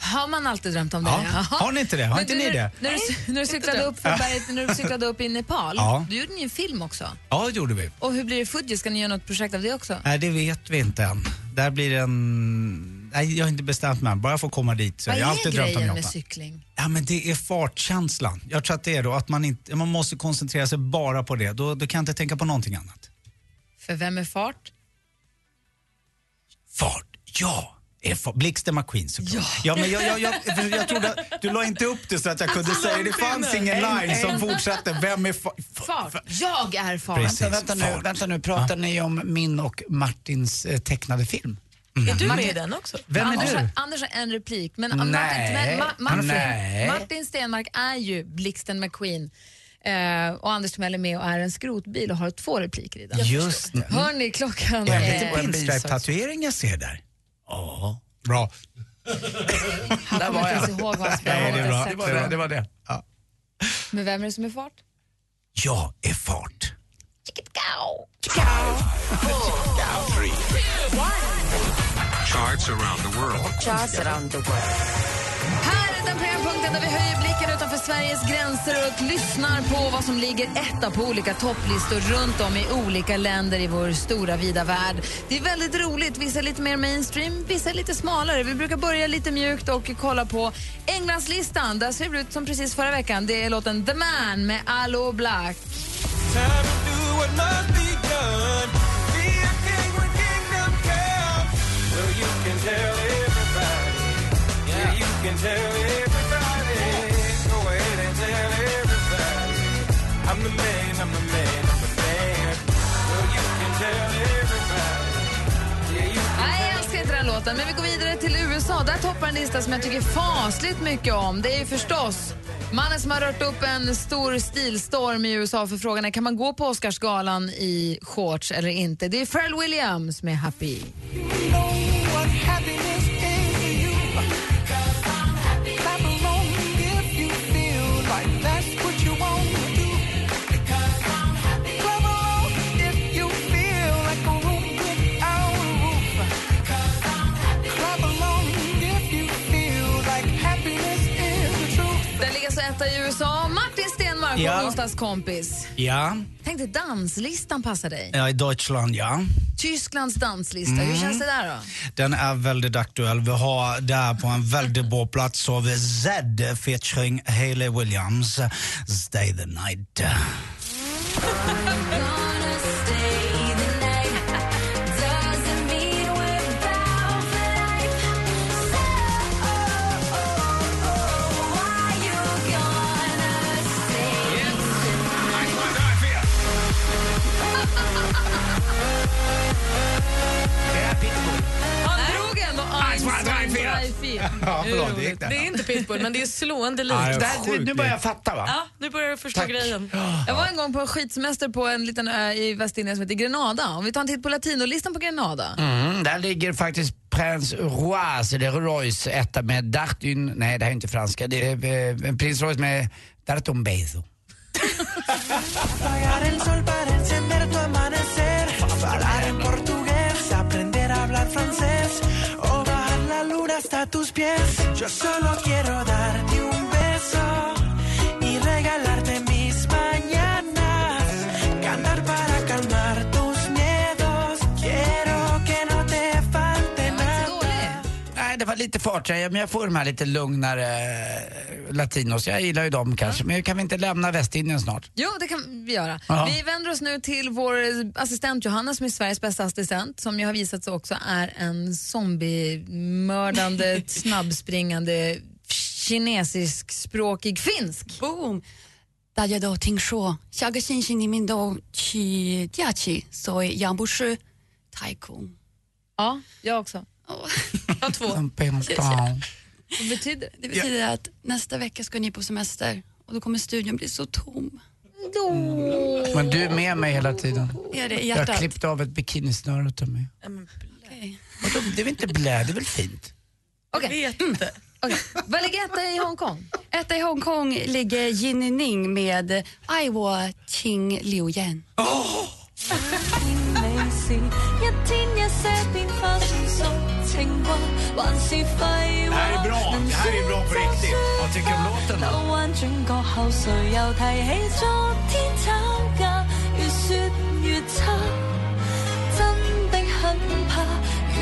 [SPEAKER 4] Har man alltid drömt om det?
[SPEAKER 7] Ja.
[SPEAKER 4] Jaha.
[SPEAKER 7] Har ni inte det? Har
[SPEAKER 4] Men
[SPEAKER 7] inte
[SPEAKER 4] du,
[SPEAKER 7] ni
[SPEAKER 4] när-
[SPEAKER 7] det?
[SPEAKER 4] När du, cy- när, du cyklade upp för berget, när du cyklade upp i Nepal,
[SPEAKER 7] Ja.
[SPEAKER 4] du gjorde ni en film också.
[SPEAKER 7] Ja, det gjorde vi.
[SPEAKER 4] Och hur blir det i Fuji? Ska ni göra något projekt av det också?
[SPEAKER 7] Nej, det vet vi inte än. Där blir det en... Nej, jag har inte bestämt mig än. Bara jag får komma dit. Så
[SPEAKER 4] Vad
[SPEAKER 7] jag har
[SPEAKER 4] är
[SPEAKER 7] alltid drömt om
[SPEAKER 4] grejen med
[SPEAKER 7] Japan.
[SPEAKER 4] cykling?
[SPEAKER 7] Ja, men det är fartkänslan. Jag tror att det är då att man, inte, man måste koncentrera sig bara på det. Då, då kan jag inte tänka på någonting annat.
[SPEAKER 4] För vem är fart?
[SPEAKER 7] Fart, ja! är fart. Blixten McQueen såklart. Ja. men jag, jag, jag, jag, trodde att du la inte upp det så att jag kunde säga det. Det fanns ingen line som fortsatte. Vem är fart?
[SPEAKER 4] Fart. Jag är fart.
[SPEAKER 3] Vänta, vänta, nu, vänta nu, pratar ni om min och Martins eh, tecknade film?
[SPEAKER 6] Är du med i den också?
[SPEAKER 3] Vem är
[SPEAKER 4] Anders,
[SPEAKER 3] du?
[SPEAKER 4] Har, Anders har en replik, men Martin,
[SPEAKER 3] Nej.
[SPEAKER 4] men, Ma- Martin,
[SPEAKER 3] Nej.
[SPEAKER 4] Martin Stenmark är ju Blixten McQueen. Eh, och Anders Timell är med och är en skrotbil och har två repliker i den.
[SPEAKER 7] Just det.
[SPEAKER 4] Hör ni klockan? Eh,
[SPEAKER 7] Är
[SPEAKER 4] är-
[SPEAKER 7] det inte en pinstripe-tatuering jag ser där? Ja. Bra.
[SPEAKER 4] Han kommer inte ens ihåg vad han spelar.
[SPEAKER 7] Nej, det, är bra.
[SPEAKER 4] Det var
[SPEAKER 7] Det
[SPEAKER 4] bra.
[SPEAKER 7] var det. Var det.
[SPEAKER 4] Men vem är det som är fart?
[SPEAKER 7] Jag är fart.
[SPEAKER 17] Charts around the world.
[SPEAKER 4] Här är den programpunkten där vi höjer blicken utanför Sveriges gränser och lyssnar på vad som ligger etta på olika topplistor runt om i olika länder i vår stora vida värld. Det är väldigt roligt. Vissa är lite mer mainstream, vissa är lite smalare. Vi brukar börja lite mjukt och kolla på Englandslistan. Där ser det ut som precis förra veckan. Det är låten The Man med Allo Black. Nej, jag älskar inte den här låten. Men vi går vidare till USA. Där toppar en lista som jag tycker fasligt mycket om. Det är ju förstås mannen som har rört upp en stor stilstorm i USA för frågan är kan man gå på Oscarsgalan i shorts eller inte. Det är Pharrell Williams med Happy. Den ligger så etta i USA. Martin Stenmarck,
[SPEAKER 7] Ja.
[SPEAKER 4] vår onsdagskompis.
[SPEAKER 7] Ja.
[SPEAKER 4] Tänk dig danslistan passar dig.
[SPEAKER 7] ja, i Deutschland ja.
[SPEAKER 4] Tysklands danslista,
[SPEAKER 7] Mm.
[SPEAKER 4] hur känns det där då?
[SPEAKER 7] Den är väldigt aktuell. Vi har där på en väldigt bra plats av Z featuring Hayley Williams. Stay the night.
[SPEAKER 4] Han drog ändå Einstein Drive-Fel.
[SPEAKER 7] Ja. choklad. Det gick
[SPEAKER 6] Det är
[SPEAKER 7] där.
[SPEAKER 6] inte pitbull, men det är slående likt.
[SPEAKER 7] Nej, det är sjukt Nu börjar jag
[SPEAKER 3] fatta, va?
[SPEAKER 6] Ja, nu börjar jag förstå
[SPEAKER 3] Tack.
[SPEAKER 6] grejen.
[SPEAKER 4] Jag var en gång på skidsemester på en liten ö i Västindien som heter Grenada. Om vi tar en titt på latinolistan på Grenada.
[SPEAKER 3] Mm, där ligger faktiskt prins Rois, eller Rois, etta med Dartun, nej det här är inte franska, det är eh, prins Rois med Dartun Bezo.
[SPEAKER 9] Apagar el sol para encender tu amanecer. Hablar en portugués, aprender a hablar francés. O bajar la luna hasta tus pies. Yo solo quiero darte un beso y regalarte mis mañanas. Cantar para calmar tus miedos. Quiero que no te falte nada.
[SPEAKER 3] Nej, det var lite fart, jag- men jag får de här lite lugnare eh, latinos. Jag gillar ju dem kanske, men kan vi inte lämna Västindien snart?
[SPEAKER 4] Jo, det kan vi göra.
[SPEAKER 3] Ja.
[SPEAKER 4] Vi vänder oss nu till vår assistent Johanna som är Sveriges bästa assistent som ju har visat sig också är en zombiemördande, snabbspringande kinesiskspråkig finsk.
[SPEAKER 18] Boom! 大家都听说，下个星期你们都去假期，所以jag borde 太空。
[SPEAKER 4] Ja, jag också.
[SPEAKER 6] Jag två.
[SPEAKER 4] Vad betyder det?
[SPEAKER 18] Det betyder att nästa vecka ska ni på semester och då kommer studion bli så tom.
[SPEAKER 3] Men du är med mig hela tiden.
[SPEAKER 18] Är det i
[SPEAKER 3] jag har
[SPEAKER 18] hjärtat?
[SPEAKER 3] klippt av ett bikinisnöre åt mig. Vadå, det är väl inte blä, det är väl fint?
[SPEAKER 4] Jag
[SPEAKER 6] vet inte.
[SPEAKER 18] Vad
[SPEAKER 4] ligger etta i Hongkong?
[SPEAKER 18] Etta i Hongkong ligger Ginny Ning med I wa ting liu yan.
[SPEAKER 7] Det här är bra. Det här är bra på riktigt. Vad tycker du om låten då?
[SPEAKER 18] 到彎轉個口水，又提起昨天吵架，越説越差，真的很怕，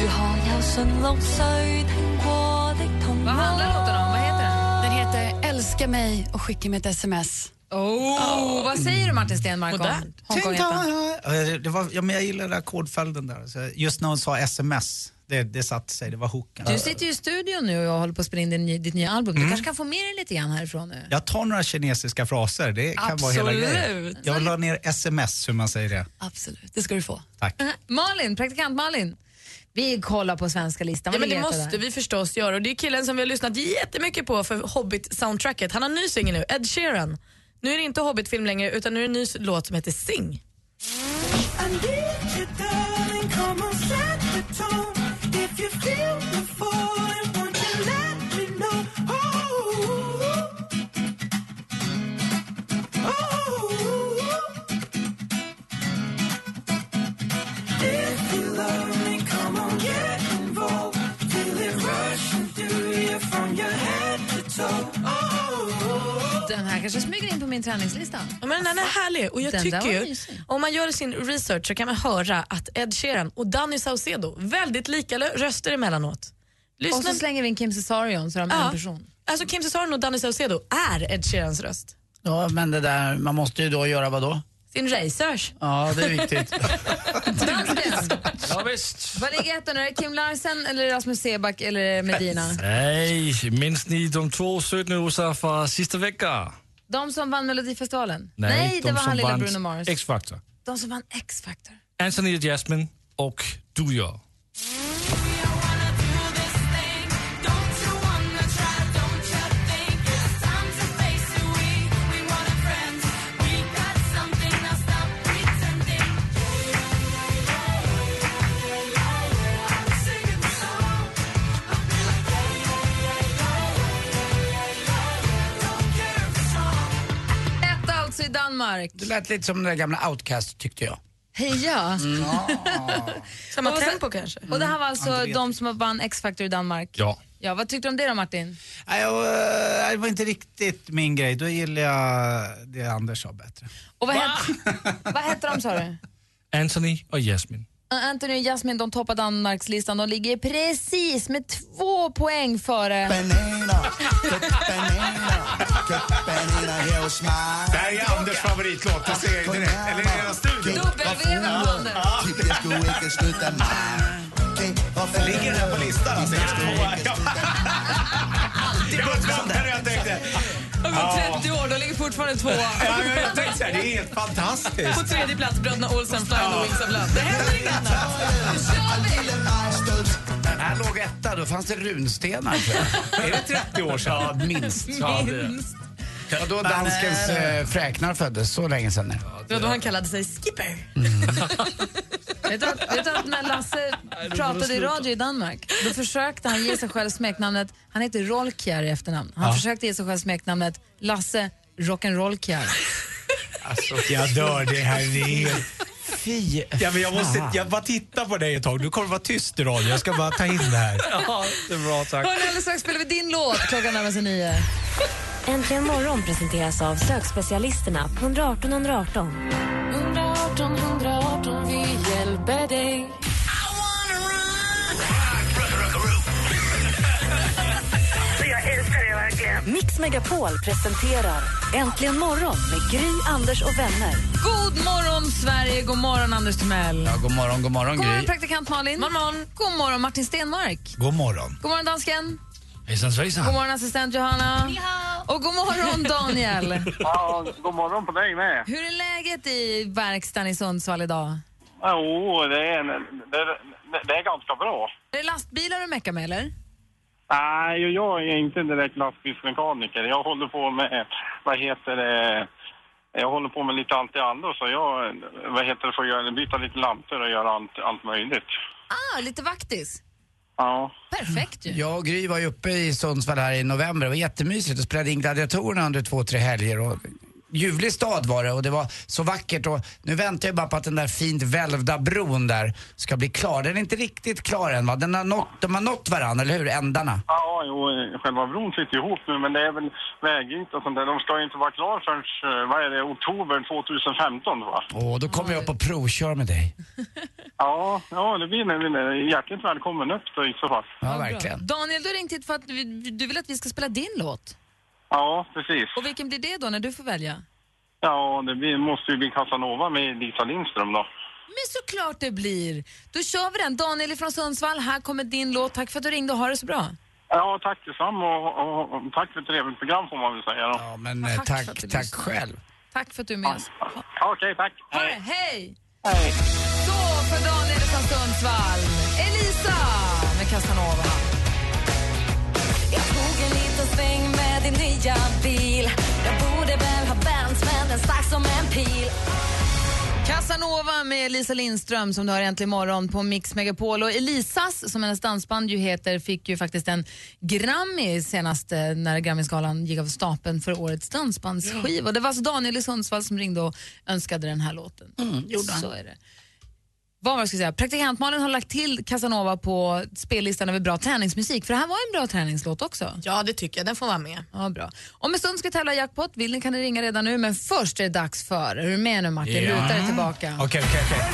[SPEAKER 18] 如何有順六歲聽過的童話。
[SPEAKER 4] Vad handlar låten om? Vad heter den?
[SPEAKER 18] Den heter Älska mig och skicka mig ett sms.
[SPEAKER 4] Oh, vad säger du Martin Stenmarck om
[SPEAKER 18] Modernt.
[SPEAKER 4] Hongkong-ettan?
[SPEAKER 7] Eh, Det var, ja, men jag gillade ackordföljden där. Så just när hon sa sms, det, det satte sig. Det var hooken.
[SPEAKER 4] Du sitter ju i studion nu och håller på att spela in din, ny- ditt nya album. Du
[SPEAKER 7] Mm.
[SPEAKER 4] kanske kan få med dig lite grann härifrån nu?
[SPEAKER 7] Jag tar några kinesiska fraser. Det kan vara hela grejen.
[SPEAKER 4] Absolut.
[SPEAKER 7] Jag la ner sms, hur man säger det.
[SPEAKER 18] Absolut, det ska du få.
[SPEAKER 4] Malin, praktikant Malin. Vi kollar på svenska listan.
[SPEAKER 6] Ja,
[SPEAKER 4] Vad
[SPEAKER 6] men det
[SPEAKER 4] ligger etta
[SPEAKER 6] måste
[SPEAKER 4] där?
[SPEAKER 6] vi förstås göra. Och det är killen som vi har lyssnat jättemycket på för Hobbit-soundtracket. Han har en ny singel nu, Ed Sheeran. Nu är det inte Hobbit-film längre utan nu är det en ny s- låt som heter Sing.
[SPEAKER 9] I need you, darling, come on, set the tone. If you feel the falling, won't you let me know? Oh, oh. If you love me, come on, get involved. Feel it rushing through you from your head to toe. Oh.
[SPEAKER 4] Den här kanske smyger in på min träningslista.
[SPEAKER 6] Ja, men den är härlig och jag
[SPEAKER 4] Alltså, Den där
[SPEAKER 6] tycker
[SPEAKER 4] var
[SPEAKER 6] ju,
[SPEAKER 4] mysig.
[SPEAKER 6] om man gör sin research så kan man höra att Ed Sheeran och Danny Saucedo, väldigt lika lö- röster emellanåt.
[SPEAKER 4] Och så
[SPEAKER 6] Lyssna.
[SPEAKER 4] slänger vi in Kim Cesarion så är de
[SPEAKER 6] Ja.
[SPEAKER 4] en person.
[SPEAKER 6] Alltså Kim Cesarion och Danny Saucedo är Ed Sheerans röst.
[SPEAKER 3] Ja, men det där, man måste ju då göra vad då?
[SPEAKER 6] Sin research.
[SPEAKER 3] Ja, det är viktigt.
[SPEAKER 8] Ja, visst.
[SPEAKER 4] Vad ligger ettan nu? Är det Kim Larsen, eller Rasmus Seback eller Medina?
[SPEAKER 8] Nej, minns ni de två sötnosar från sista veckan?
[SPEAKER 4] De som vann Melodifestivalen? det
[SPEAKER 8] de
[SPEAKER 4] var
[SPEAKER 8] som
[SPEAKER 4] han lilla
[SPEAKER 8] vann
[SPEAKER 4] Bruno Mars.
[SPEAKER 8] X-Factor.
[SPEAKER 4] De som vann X-Factor.
[SPEAKER 8] Anthony och Jasmine och du jag.
[SPEAKER 4] Etta alltså i Danmark.
[SPEAKER 3] Det lät lite som den där gamla Outcast tyckte jag.
[SPEAKER 4] Heja!
[SPEAKER 6] Samma
[SPEAKER 4] Och så-
[SPEAKER 6] tempo kanske.
[SPEAKER 4] Och det här var alltså
[SPEAKER 3] Mm,
[SPEAKER 4] de som vann X-Factor i Danmark?
[SPEAKER 8] Ja.
[SPEAKER 4] ja. Vad tyckte du om det då Martin?
[SPEAKER 7] Nej, jag, eh, det var inte riktigt min grej. Då gillar jag det Anders sa bättre.
[SPEAKER 4] Och vad, hette, vad hette de sa du?
[SPEAKER 8] Anthony och Jasmine.
[SPEAKER 4] Anthony och Jasmine de toppar Danmarkslistan. De ligger precis med två poäng före...
[SPEAKER 7] Det här är Anders favoritlåt, det ser jag direkt. Eller i hela studion. Ligger den här på listan? Alltså, jag Alltid gått fram där jag tänkte.
[SPEAKER 6] Har
[SPEAKER 7] Ja.
[SPEAKER 6] gått 30 år, de ligger fortfarande tvåa.
[SPEAKER 7] Ja, men jag tänkte så här, det är helt fantastiskt.
[SPEAKER 6] På tredje plats Bröderna Olsen, Flying the Wings of Love. Det händer inget annat.
[SPEAKER 3] Den här låg etta, då fanns det runstenar tror jag.
[SPEAKER 7] Är det 30 år sedan?
[SPEAKER 3] Ja, minst.
[SPEAKER 7] Ja, det är.
[SPEAKER 4] Minst.
[SPEAKER 3] Det var då danskens eh, fräknar föddes, så länge sedan nu.
[SPEAKER 6] Det var då han kallade sig Skipper.
[SPEAKER 4] Vet du att- vet du att när Lasse
[SPEAKER 6] det
[SPEAKER 4] pratade i
[SPEAKER 6] sluta.
[SPEAKER 4] radio i Danmark, då försökte han ge sig själv smeknamnet, han heter Rolkjær i efternamn, han
[SPEAKER 7] Ja.
[SPEAKER 4] försökte ge sig själv smeknamnet Lasse Rock'n'Rollkjær.
[SPEAKER 7] Alltså, jag dör, det här är helt...
[SPEAKER 3] Fy
[SPEAKER 7] Ja, men jag, måste,
[SPEAKER 3] fan.
[SPEAKER 7] jag bara tittar på dig ett tag. Du kommer vara tyst i radio. Jag ska bara ta in det här.
[SPEAKER 8] Ja, det är bra tack.
[SPEAKER 4] Hörni, alldeles strax spelar vi din låt, klockan närmar sig nio.
[SPEAKER 15] Äntligen morgon presenteras av sökspecialisterna på 118 118.
[SPEAKER 2] 118 118, vi hjälper dig.
[SPEAKER 1] Jag älskar det verkligen.
[SPEAKER 15] Mix Megapol presenterar Äntligen morgon med Gry, Anders och vänner.
[SPEAKER 4] God morgon Sverige, god morgon Anders Timell.
[SPEAKER 3] Ja, god morgon, god morgon
[SPEAKER 4] God morgon
[SPEAKER 3] Gry.
[SPEAKER 4] praktikant Malin. God morgon, god morgon Martin Stenmark.
[SPEAKER 7] God morgon.
[SPEAKER 4] God morgon dansken.
[SPEAKER 8] Hejsan svejsan.
[SPEAKER 4] God morgon assistent Johanna. Och god morgon Daniel.
[SPEAKER 12] Ja, god morgon på dig med.
[SPEAKER 4] Hur är läget i verkstaden i Sundsvall idag?
[SPEAKER 12] Jo, det är, det, det, det är ganska bra.
[SPEAKER 4] Är det lastbilar du meckar med eller?
[SPEAKER 12] Nej, och jag är inte direkt lastbilsmekaniker. Jag håller på med, vad heter det, jag håller på med lite allt i allo. Så jag, vad heter det, får göra, byta lite lampor och göra allt, allt möjligt.
[SPEAKER 4] Ah, lite vaktis.
[SPEAKER 12] Ja.
[SPEAKER 4] Perfekt ju.
[SPEAKER 3] Jag och Gry var ju uppe i Sundsvall här i november. Det var jättemysigt och spelade in Gladiatorerna under två, tre helger. Och ljuvlig stad var det och det var så vackert. Och nu väntar jag bara på att den där fint välvda bron där ska bli klar. Den är inte riktigt klar än va? Den har nått, de har nått varandra, eller hur? Ändarna.
[SPEAKER 12] Ja, jo, själva bron sitter ihop nu, men det är väl vägyta och sånt där. De ska ju inte vara klar förrän, eh, vad är det, oktober 2015 va?
[SPEAKER 3] Och då kommer jag upp och provkör med dig.
[SPEAKER 12] Ja, ja det blir ni hjärtligt välkommen upp då i så fall.
[SPEAKER 3] Ja, verkligen.
[SPEAKER 4] Daniel, du har ringt hit för att vi- du vill att vi ska spela din låt.
[SPEAKER 12] Ja, precis.
[SPEAKER 4] Och vilken blir det då när du får välja?
[SPEAKER 12] Ja, det blir, måste ju bli Casanova med Lisa Lindström då.
[SPEAKER 4] Men såklart det blir. Då kör vi den. Daniel från Sundsvall, här kommer din låt. Tack för att du ringde och ha det så bra.
[SPEAKER 12] Ja, tack detsamma och, och, och tack för ett trevligt program får man väl säga då.
[SPEAKER 3] Ja, men eh, tack, tack själv.
[SPEAKER 4] Tack för att du är med
[SPEAKER 3] alltså.
[SPEAKER 4] oss.
[SPEAKER 12] Okej, tack.
[SPEAKER 4] Ha det. Hej! Så, för Daniel från Sundsvall. Elisa med Casanova.
[SPEAKER 19] Jag tog en liten sväng med din nya bil Jag borde väl ha vänt men den stack som en pil
[SPEAKER 4] Casanova med Lisa Lindström som du har äntligen morgon på Mix Megapol. Och Elisas, som hennes dansband ju heter, fick ju faktiskt en Grammy senast eh, när Grammyskalan gick av stapeln för årets dansbandsskiva. Och det var alltså Daniel i Sundsvall som ringde och önskade den här låten. Så är det. Vad var det jag skulle säga? Praktikantmalen har lagt till Casanova på spellistan över bra träningsmusik, för det här var en bra träningslåt också.
[SPEAKER 6] Ja, det tycker jag. Den får vara med.
[SPEAKER 4] Ja, bra. Om en stund ska vi tävla i jackpot. Vill ni kan ni ringa redan nu, men först är det dags för... Är du med nu Martin?
[SPEAKER 7] Ja.
[SPEAKER 4] Luta dig tillbaka.
[SPEAKER 7] Okej, okej, okej.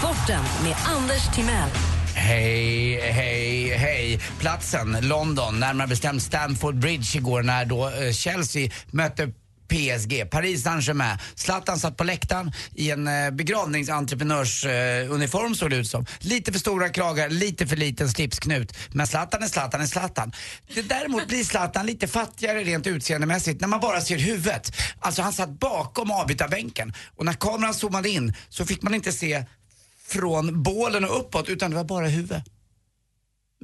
[SPEAKER 1] Sporten med Anders Timell.
[SPEAKER 3] Hej, hej, hej. Platsen, London, närmare bestämt Stamford Bridge igår när då eh, Chelsea mötte PSG, Paris Saint-Germain. Zlatan satt på läktaren i en eh, begravningsentreprenörsuniform såg det ut som. Lite för stora kragar, lite för liten slipsknut. Men Zlatan är Zlatan är Zlatan. Det däremot blir Zlatan lite fattigare rent utseendemässigt när man bara ser huvudet. Alltså han satt bakom avbytarbänken och när kameran zoomade in så fick man inte se från bålen och uppåt utan det var bara huvud.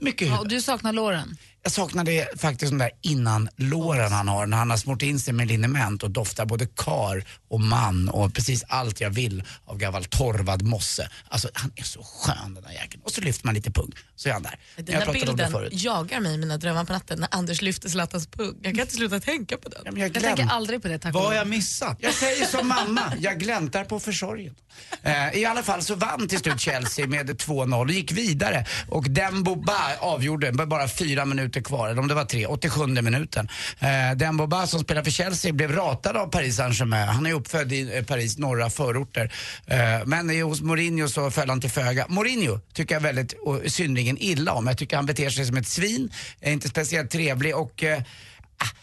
[SPEAKER 3] Mycket huvud.
[SPEAKER 4] Ja, och du saknar låren.
[SPEAKER 3] Jag saknade faktiskt de där innanlåren han har när han har smort in sig med liniment och doftar både kar och man och precis allt jag vill av gammal torvad mosse. Alltså han är så skön den där jäkeln. Och så lyfter man lite pung så är han där.
[SPEAKER 6] Den
[SPEAKER 3] jag
[SPEAKER 6] där
[SPEAKER 3] pratade om
[SPEAKER 6] bilden
[SPEAKER 3] förut.
[SPEAKER 6] jagar mig i mina drömmar på natten när Anders lyfter Zlatans pung. Jag kan inte sluta tänka på den.
[SPEAKER 3] jag glöm- tänker
[SPEAKER 4] aldrig på det, tack
[SPEAKER 7] Vad har jag missat?
[SPEAKER 3] Jag säger som mamma, jag gläntar på försorgen. Eh, I alla fall så vann till slut Chelsea med 2-0 och gick vidare. Och Dembo Ba avgjorde, det var bara fyra minuter kvar, eller om det var tre, 87 minuten. Eh, Dembo Ba som spelar för Chelsea blev ratad av Paris Saint-Germain. Han är uppfödd i eh, Paris norra förorter. Eh, men i- hos Mourinho så föll han till föga. Mourinho tycker jag väldigt och synnerligen illa om. Jag tycker han beter sig som ett svin, är inte speciellt trevlig och eh,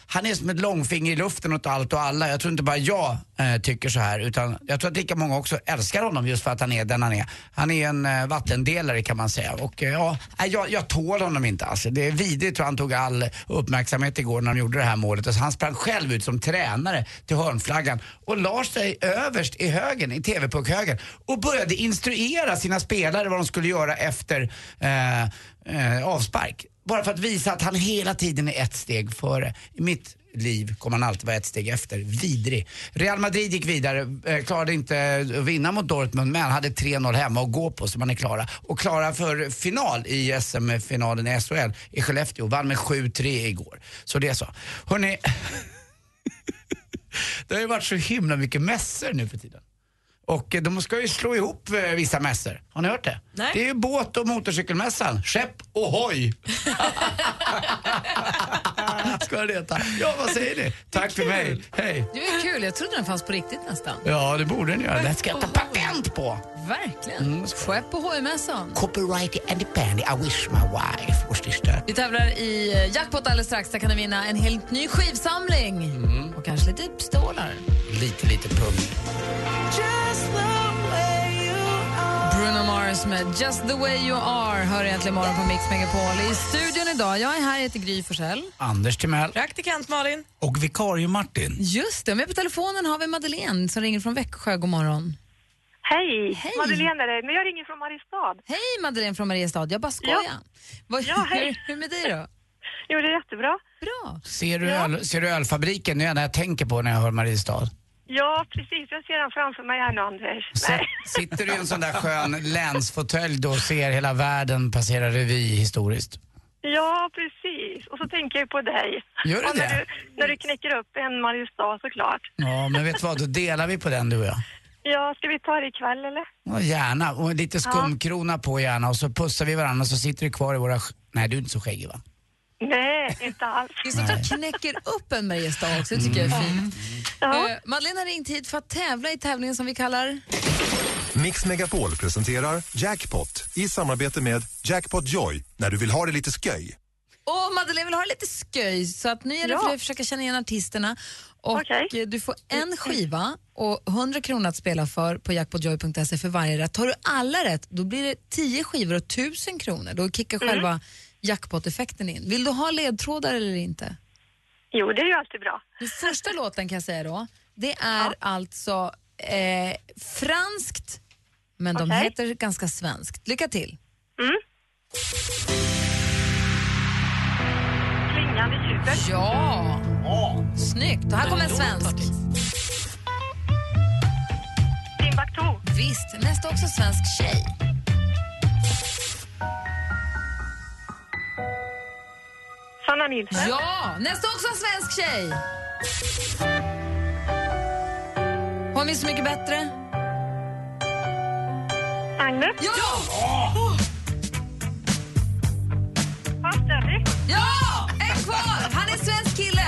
[SPEAKER 3] han är som ett långfinger i luften åt allt och alla. Jag tror inte bara jag eh, tycker så här utan jag tror att lika många också älskar honom just för att han är den han är. Han är en eh, vattendelare kan man säga och eh, ja, nej, jag, jag tål honom inte alls. Det är vidrigt hur han tog all uppmärksamhet igår när de gjorde det här målet. Alltså, han sprang själv ut som tränare till hörnflaggan och la sig överst i högen, i TV-puckhögen och började instruera sina spelare vad de skulle göra efter eh, eh, avspark. Bara för att visa att han hela tiden är ett steg före. I mitt liv kommer han alltid vara ett steg efter. Vidrig. Real Madrid gick vidare, eh, klarade inte att vinna mot Dortmund men hade 3-0 hemma att gå på så man är klara. Och klara för final i SM-finalen i SHL i Skellefteå. Vann med 7-3 igår. Så det är så. Hörrni, det har ju varit så himla mycket mässor nu för tiden. Och eh, de ska ju slå ihop eh, vissa mässor. Har ni hört det?
[SPEAKER 6] Nej.
[SPEAKER 3] Det är ju båt och motorcykelmässan. Skepp och hoj. ska det heta. Ja, vad säger ni? Tack för mig. Hej.
[SPEAKER 4] Det är kul, jag trodde den fanns på riktigt nästan.
[SPEAKER 3] Ja, det borde ni göra. Det ska jag ta patent på.
[SPEAKER 4] Verkligen. Skepp på hojmässan.
[SPEAKER 3] Copyright independent, I wish my wife was this that.
[SPEAKER 4] Vi tävlar i eh, jackpot alldeles strax. Där kan ni vinna en helt ny skivsamling. Och kanske lite stålar.
[SPEAKER 3] Lite, lite pung.
[SPEAKER 4] Bruno Mars med Just the way you are hör egentligen morgon på Mix Megapol. I studion idag, jag är här, jag heter Gry Forssell.
[SPEAKER 3] Anders Timell.
[SPEAKER 6] Praktikant Malin.
[SPEAKER 7] Och vikarie Martin.
[SPEAKER 4] Just det, med på telefonen har vi Madeleine som ringer från Växjö. God morgon.
[SPEAKER 20] Hej!
[SPEAKER 4] Hej.
[SPEAKER 20] Madeleine är det, men jag ringer från Mariestad.
[SPEAKER 4] Hej Madeleine från Mariestad, jag bara skojar.
[SPEAKER 20] Ja.
[SPEAKER 4] Vad,
[SPEAKER 20] Ja, hej.
[SPEAKER 4] hur, hur är det med dig då?
[SPEAKER 20] Jo, det är jättebra.
[SPEAKER 4] Bra.
[SPEAKER 3] Ser du, öl, ser du ölfabriken? Det är det jag tänker på när jag hör Mariestad.
[SPEAKER 20] Ja, precis. Jag ser den framför mig här nu, Anders.
[SPEAKER 3] Sä- Sitter du i en sån där skön länsfåtölj då och ser hela världen passera revy historiskt?
[SPEAKER 20] Ja, precis. Och så tänker jag på dig.
[SPEAKER 3] Gör du
[SPEAKER 20] och när
[SPEAKER 3] det?
[SPEAKER 20] Du, när du knäcker upp en Mariestad såklart.
[SPEAKER 3] Ja, men vet du vad? Då delar vi på den du och jag.
[SPEAKER 20] Ja, ska vi ta det ikväll eller?
[SPEAKER 3] Ja, gärna. Och lite skumkrona på gärna och så pussar vi varandra och så sitter du kvar i våra... sk- Nej, du är inte så skäggig va?
[SPEAKER 20] Nej, inte alls.
[SPEAKER 4] Det är sånt att knäcker upp en Mariestad också, det tycker jag är fint. Eh, Madeleine har ringt hit för att tävla i tävlingen som vi kallar
[SPEAKER 21] Mix Megapol presenterar Jackpot i samarbete med Jackpot Joy när du vill ha det lite sköj.
[SPEAKER 4] Och Madeleine vill ha det lite sköj, så att nu gäller det för dig att försöka känna igen artisterna. Och eh, Du får en skiva och 100 kronor att spela för på jackpotjoy.se för varje rätt. Tar du alla rätt, då blir det 10 skivor och 1000 kronor. Då kickar
[SPEAKER 20] Mm.
[SPEAKER 4] själva jackpot-effekten in. Vill du ha ledtrådar eller inte?
[SPEAKER 20] Jo, det är ju alltid bra.
[SPEAKER 4] Den första låten kan jag säga då, det är alltså eh, franskt, men de
[SPEAKER 20] Okej.
[SPEAKER 4] heter ganska svenskt. Lycka till!
[SPEAKER 20] Klingande jubel.
[SPEAKER 4] Ja! Snyggt! Och här kommer en
[SPEAKER 20] Det
[SPEAKER 4] svensk. Timbuktu. Visst. Nästa också svensk tjej.
[SPEAKER 20] Sanna Nilsson.
[SPEAKER 4] Ja! Nästa också en svensk tjej. Hon är Så mycket bättre.
[SPEAKER 20] Agnes.
[SPEAKER 4] Ja!
[SPEAKER 20] Fast Ellie.
[SPEAKER 4] Ja! En kvar! Han är svensk kille.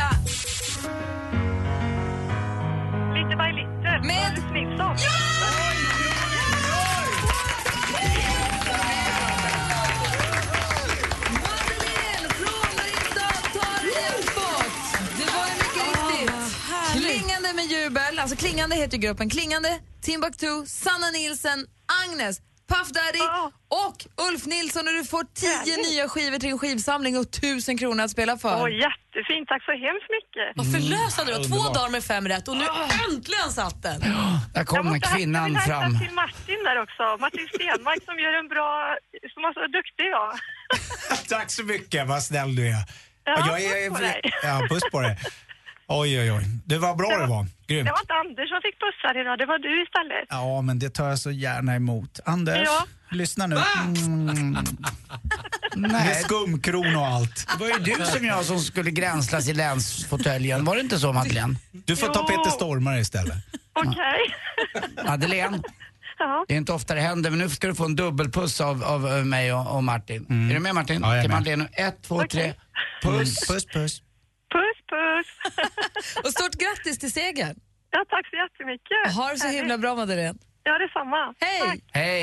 [SPEAKER 20] Little by little.
[SPEAKER 4] Med?
[SPEAKER 20] Nilsson.
[SPEAKER 4] Det var ju mycket riktigt. Klingande med jubel. Alltså Klingande heter ju gruppen. Klingande, Timbuktu, Sanna Nilsen, Agnes, Puff Daddy och Ulf Nilsson. Och du får tio nya skivor till din skivsamling och tusen kronor att spela för.
[SPEAKER 20] Åh, jättefint. Tack så hemskt mycket. Ah,
[SPEAKER 6] Vad förlösande du var. Två
[SPEAKER 3] Underbart.
[SPEAKER 6] dagar med fem rätt och nu äntligen satt den.
[SPEAKER 3] Där kom kvinnan
[SPEAKER 20] Jag vill
[SPEAKER 3] fram.
[SPEAKER 20] hälsa till Martin där också. Martin Stenmark som gör en bra, som är så duktig ja.
[SPEAKER 7] Tack så mycket, vad snäll du är.
[SPEAKER 20] Ja,
[SPEAKER 7] jag är,
[SPEAKER 20] puss på dig.
[SPEAKER 7] Ja, puss på dig. Oj, oj, oj. Det var bra det var. Grymt.
[SPEAKER 20] Det var inte Anders som fick pussar idag, det var du istället.
[SPEAKER 7] Ja, men det tar jag så gärna emot. Anders,
[SPEAKER 20] Ja.
[SPEAKER 7] lyssna nu. Mm. Med skumkron och allt.
[SPEAKER 20] Ah!
[SPEAKER 3] Det var ju du som jag som skulle gränslas i länsfåtöljen. Var det inte så Madeleine?
[SPEAKER 7] Du får ta Peter Stormare istället.
[SPEAKER 20] Okej.
[SPEAKER 3] Madeleine,
[SPEAKER 20] Ja.
[SPEAKER 3] det är inte ofta det händer men nu ska du få en dubbelpuss av, av eh, mig och, och Martin. Är du med Martin?
[SPEAKER 7] Ja, jag är
[SPEAKER 3] Till
[SPEAKER 7] med.
[SPEAKER 3] Madeleine nu. Ett, två, tre. Puss.
[SPEAKER 7] Mm. Puss, puss.
[SPEAKER 20] Puss, puss.
[SPEAKER 4] och stort grattis till segern.
[SPEAKER 20] Ja, tack så jättemycket.
[SPEAKER 4] Ha det så himla bra, Madeleine.
[SPEAKER 20] Ja, detsamma.
[SPEAKER 4] Hej!
[SPEAKER 3] Hej!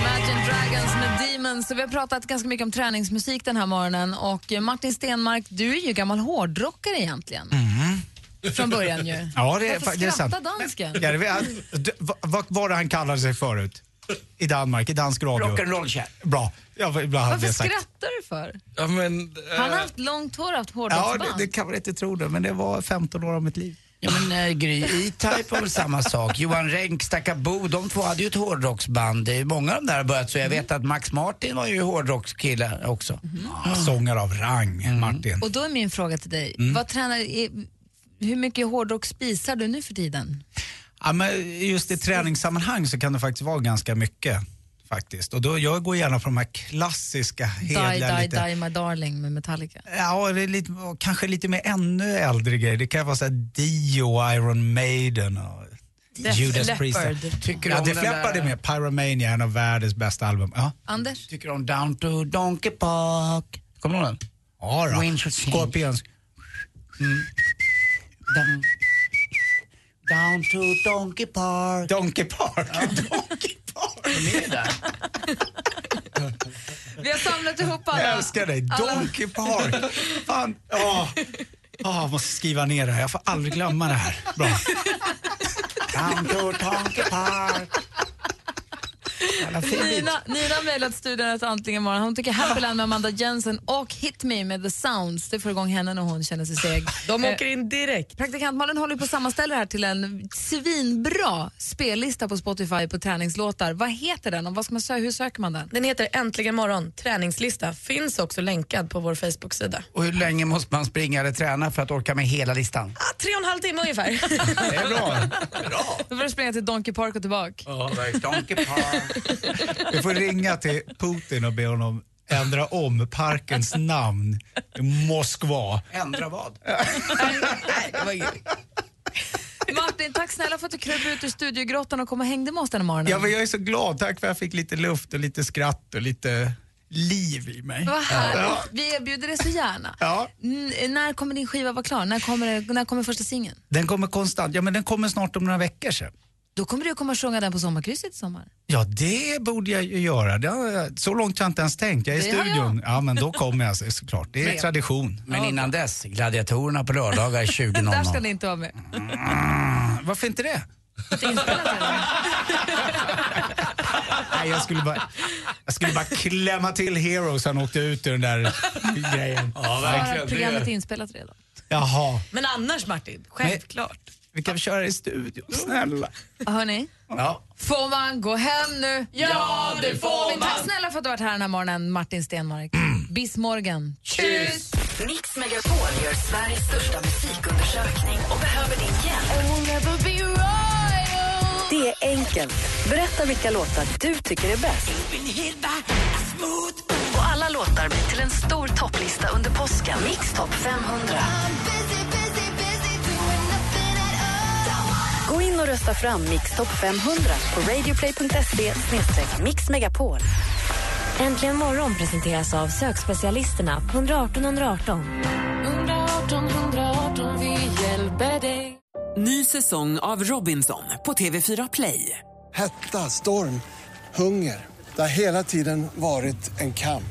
[SPEAKER 4] Imagine Dragons med Diamonds. Vi har pratat ganska mycket om träningsmusik den här morgonen och eh, Martin Stenmark, du är ju gammal hårdrockare egentligen. Från början ju.
[SPEAKER 7] Mm-hmm. Ja, det är, fa-
[SPEAKER 4] Varför
[SPEAKER 7] det är sant.
[SPEAKER 4] skrattar dansken?
[SPEAKER 7] Ja, det, är- d- va- vad var det han kallade sig förut? I Danmark, i dansk radio.
[SPEAKER 3] Rock'n'roll-kär.
[SPEAKER 7] Bra. Ja, ibland hade
[SPEAKER 4] Varför
[SPEAKER 7] jag sagt.
[SPEAKER 4] skrattar du för?
[SPEAKER 8] Ja, men, eh,
[SPEAKER 4] Han har haft långt hår och haft
[SPEAKER 7] Ja,
[SPEAKER 4] hårdrocksband.
[SPEAKER 7] det, det kan man inte tro det, men det var 15 år av mitt liv.
[SPEAKER 3] Ja, men eh, Gry, E-Type var väl samma sak. Johan Renck, Stakabo, de två hade ju ett hårdrocksband. Det är Många av de där har börjat så. Jag vet att Max Martin var ju hårdrockskille också.
[SPEAKER 7] Mm. Ah, Sångare av rang, Martin.
[SPEAKER 4] Mm. Och då är min fråga till dig,
[SPEAKER 7] Mm.
[SPEAKER 4] vad tränar, är, hur mycket hårdrock spisar du nu för tiden?
[SPEAKER 7] Ja, men just i träningssammanhang så kan det faktiskt vara ganska mycket. Faktiskt. Och då, jag går gärna på de här klassiska,
[SPEAKER 4] Die,
[SPEAKER 7] hederliga
[SPEAKER 4] die,
[SPEAKER 7] lite.
[SPEAKER 4] die my darling med Metallica.
[SPEAKER 7] Ja, det är lite, och kanske lite mer ännu äldre grejer. Det kan vara så här Dio, Iron Maiden och
[SPEAKER 4] Def
[SPEAKER 7] Judas Priest.
[SPEAKER 4] Leppard. Tycker
[SPEAKER 7] Tycker
[SPEAKER 4] du
[SPEAKER 7] ja,
[SPEAKER 4] om
[SPEAKER 7] det
[SPEAKER 4] den
[SPEAKER 7] fläppar
[SPEAKER 4] där-
[SPEAKER 7] det med. Pyromania, en av världens bästa album. Ja.
[SPEAKER 4] Anders?
[SPEAKER 3] Tycker du om Down to Donkey Park? Kommer du ihåg den?
[SPEAKER 7] Ja, då.
[SPEAKER 3] Winter
[SPEAKER 7] Scorpions.
[SPEAKER 3] Mm. Down, down to Donkey Park.
[SPEAKER 7] Donkey Park? Ja. Donkey
[SPEAKER 3] Park. De är där.
[SPEAKER 4] Vi har samlat ihop alla.
[SPEAKER 7] Jag älskar dig.
[SPEAKER 4] Alla-
[SPEAKER 7] Donkey Park. Fan. Ja. Ja, jag måste skriva ner det här. Jag får aldrig glömma det här. Bra.
[SPEAKER 3] Down to Donkey Park. Jävla fint.
[SPEAKER 4] Nina, Nina har mejlat studion ett antingen morgon. Hon tycker Happyland med Amanda Jensen och Hit Me med The Sounds. Det får igång henne när hon känner sig seg.
[SPEAKER 6] De
[SPEAKER 4] Eh,
[SPEAKER 6] åker in direkt.
[SPEAKER 4] Praktikant Malin håller på att sammanställa det här till en svinbra spellista på Spotify på träningslåtar. Vad heter den och vad ska man söka? hur söker man den?
[SPEAKER 6] Den heter Äntligen morgon träningslista. Finns också länkad på vår Facebook-sida.
[SPEAKER 3] Och hur länge måste man springa eller träna för att orka med hela listan?
[SPEAKER 6] Ah, tre och en halv timme ungefär.
[SPEAKER 3] Det är bra.
[SPEAKER 4] Då får du springa till Donkey Park och tillbaka.
[SPEAKER 3] Donkey Park.
[SPEAKER 7] Du får ringa till Putin och be honom ändra om parkens namn. Moskva.
[SPEAKER 3] Ändra vad?
[SPEAKER 4] Martin, tack snälla för att du kröp ut ur studiegrottan och kom och hängde med oss den här morgonen.
[SPEAKER 7] Ja, men jag är så glad. Tack för att jag fick lite luft och lite skratt och lite liv i mig.
[SPEAKER 4] Vad härligt.
[SPEAKER 7] Ja.
[SPEAKER 4] Vi erbjuder det så gärna.
[SPEAKER 7] Ja.
[SPEAKER 4] N- när kommer din skiva vara klar? När kommer, det- när kommer första singeln?
[SPEAKER 7] Den kommer konstant. Ja, men den kommer snart om några veckor sen.
[SPEAKER 4] Då kommer du komma och sjunga den på sommarkrysset i sommar.
[SPEAKER 7] Ja, det borde jag ju göra. Det har jag, så långt har jag inte ens tänkt. Jag är i
[SPEAKER 4] Det har
[SPEAKER 7] studion. Ja, men då kommer jag så- såklart. Det är
[SPEAKER 3] Men-
[SPEAKER 7] tradition.
[SPEAKER 3] Men innan dess, Gladiatorerna på lördagar 20.00.
[SPEAKER 4] Där ska ni inte vara med.
[SPEAKER 7] Varför inte det? Nej, jag skulle bara, jag skulle bara klämma till Heroes han åkte ut ur den där grejen.
[SPEAKER 8] Ja,
[SPEAKER 4] Har programmet inspelat redan?
[SPEAKER 7] Jaha.
[SPEAKER 6] Men annars Martin, självklart.
[SPEAKER 7] Vi kan köra det i studion, snälla.
[SPEAKER 4] Hörni,
[SPEAKER 7] Ja.
[SPEAKER 4] får man gå hem nu?
[SPEAKER 7] Ja, det får
[SPEAKER 4] Men Tack
[SPEAKER 7] man. Mm.
[SPEAKER 4] snälla för att du har varit här den här morgonen, Martin Stenmark. Bis morgon.
[SPEAKER 1] Tjus! Mix Megapol gör Sveriges största musikundersökning och behöver din hjälp. Det är enkelt. Berätta vilka låtar du tycker är bäst. Och alla låtar blir till en stor topplista under påsken. Mix topp 500. Gå in och rösta fram Mix topp 500 på radioplay.se mixmegapol.
[SPEAKER 15] Äntligen morgon presenteras av sökspecialisterna på 118 118.
[SPEAKER 2] 118 118 vi hjälper dig.
[SPEAKER 10] Ny säsong av Robinson på TV4 Play.
[SPEAKER 22] Hetta, storm, hunger. Det har hela tiden varit en kamp.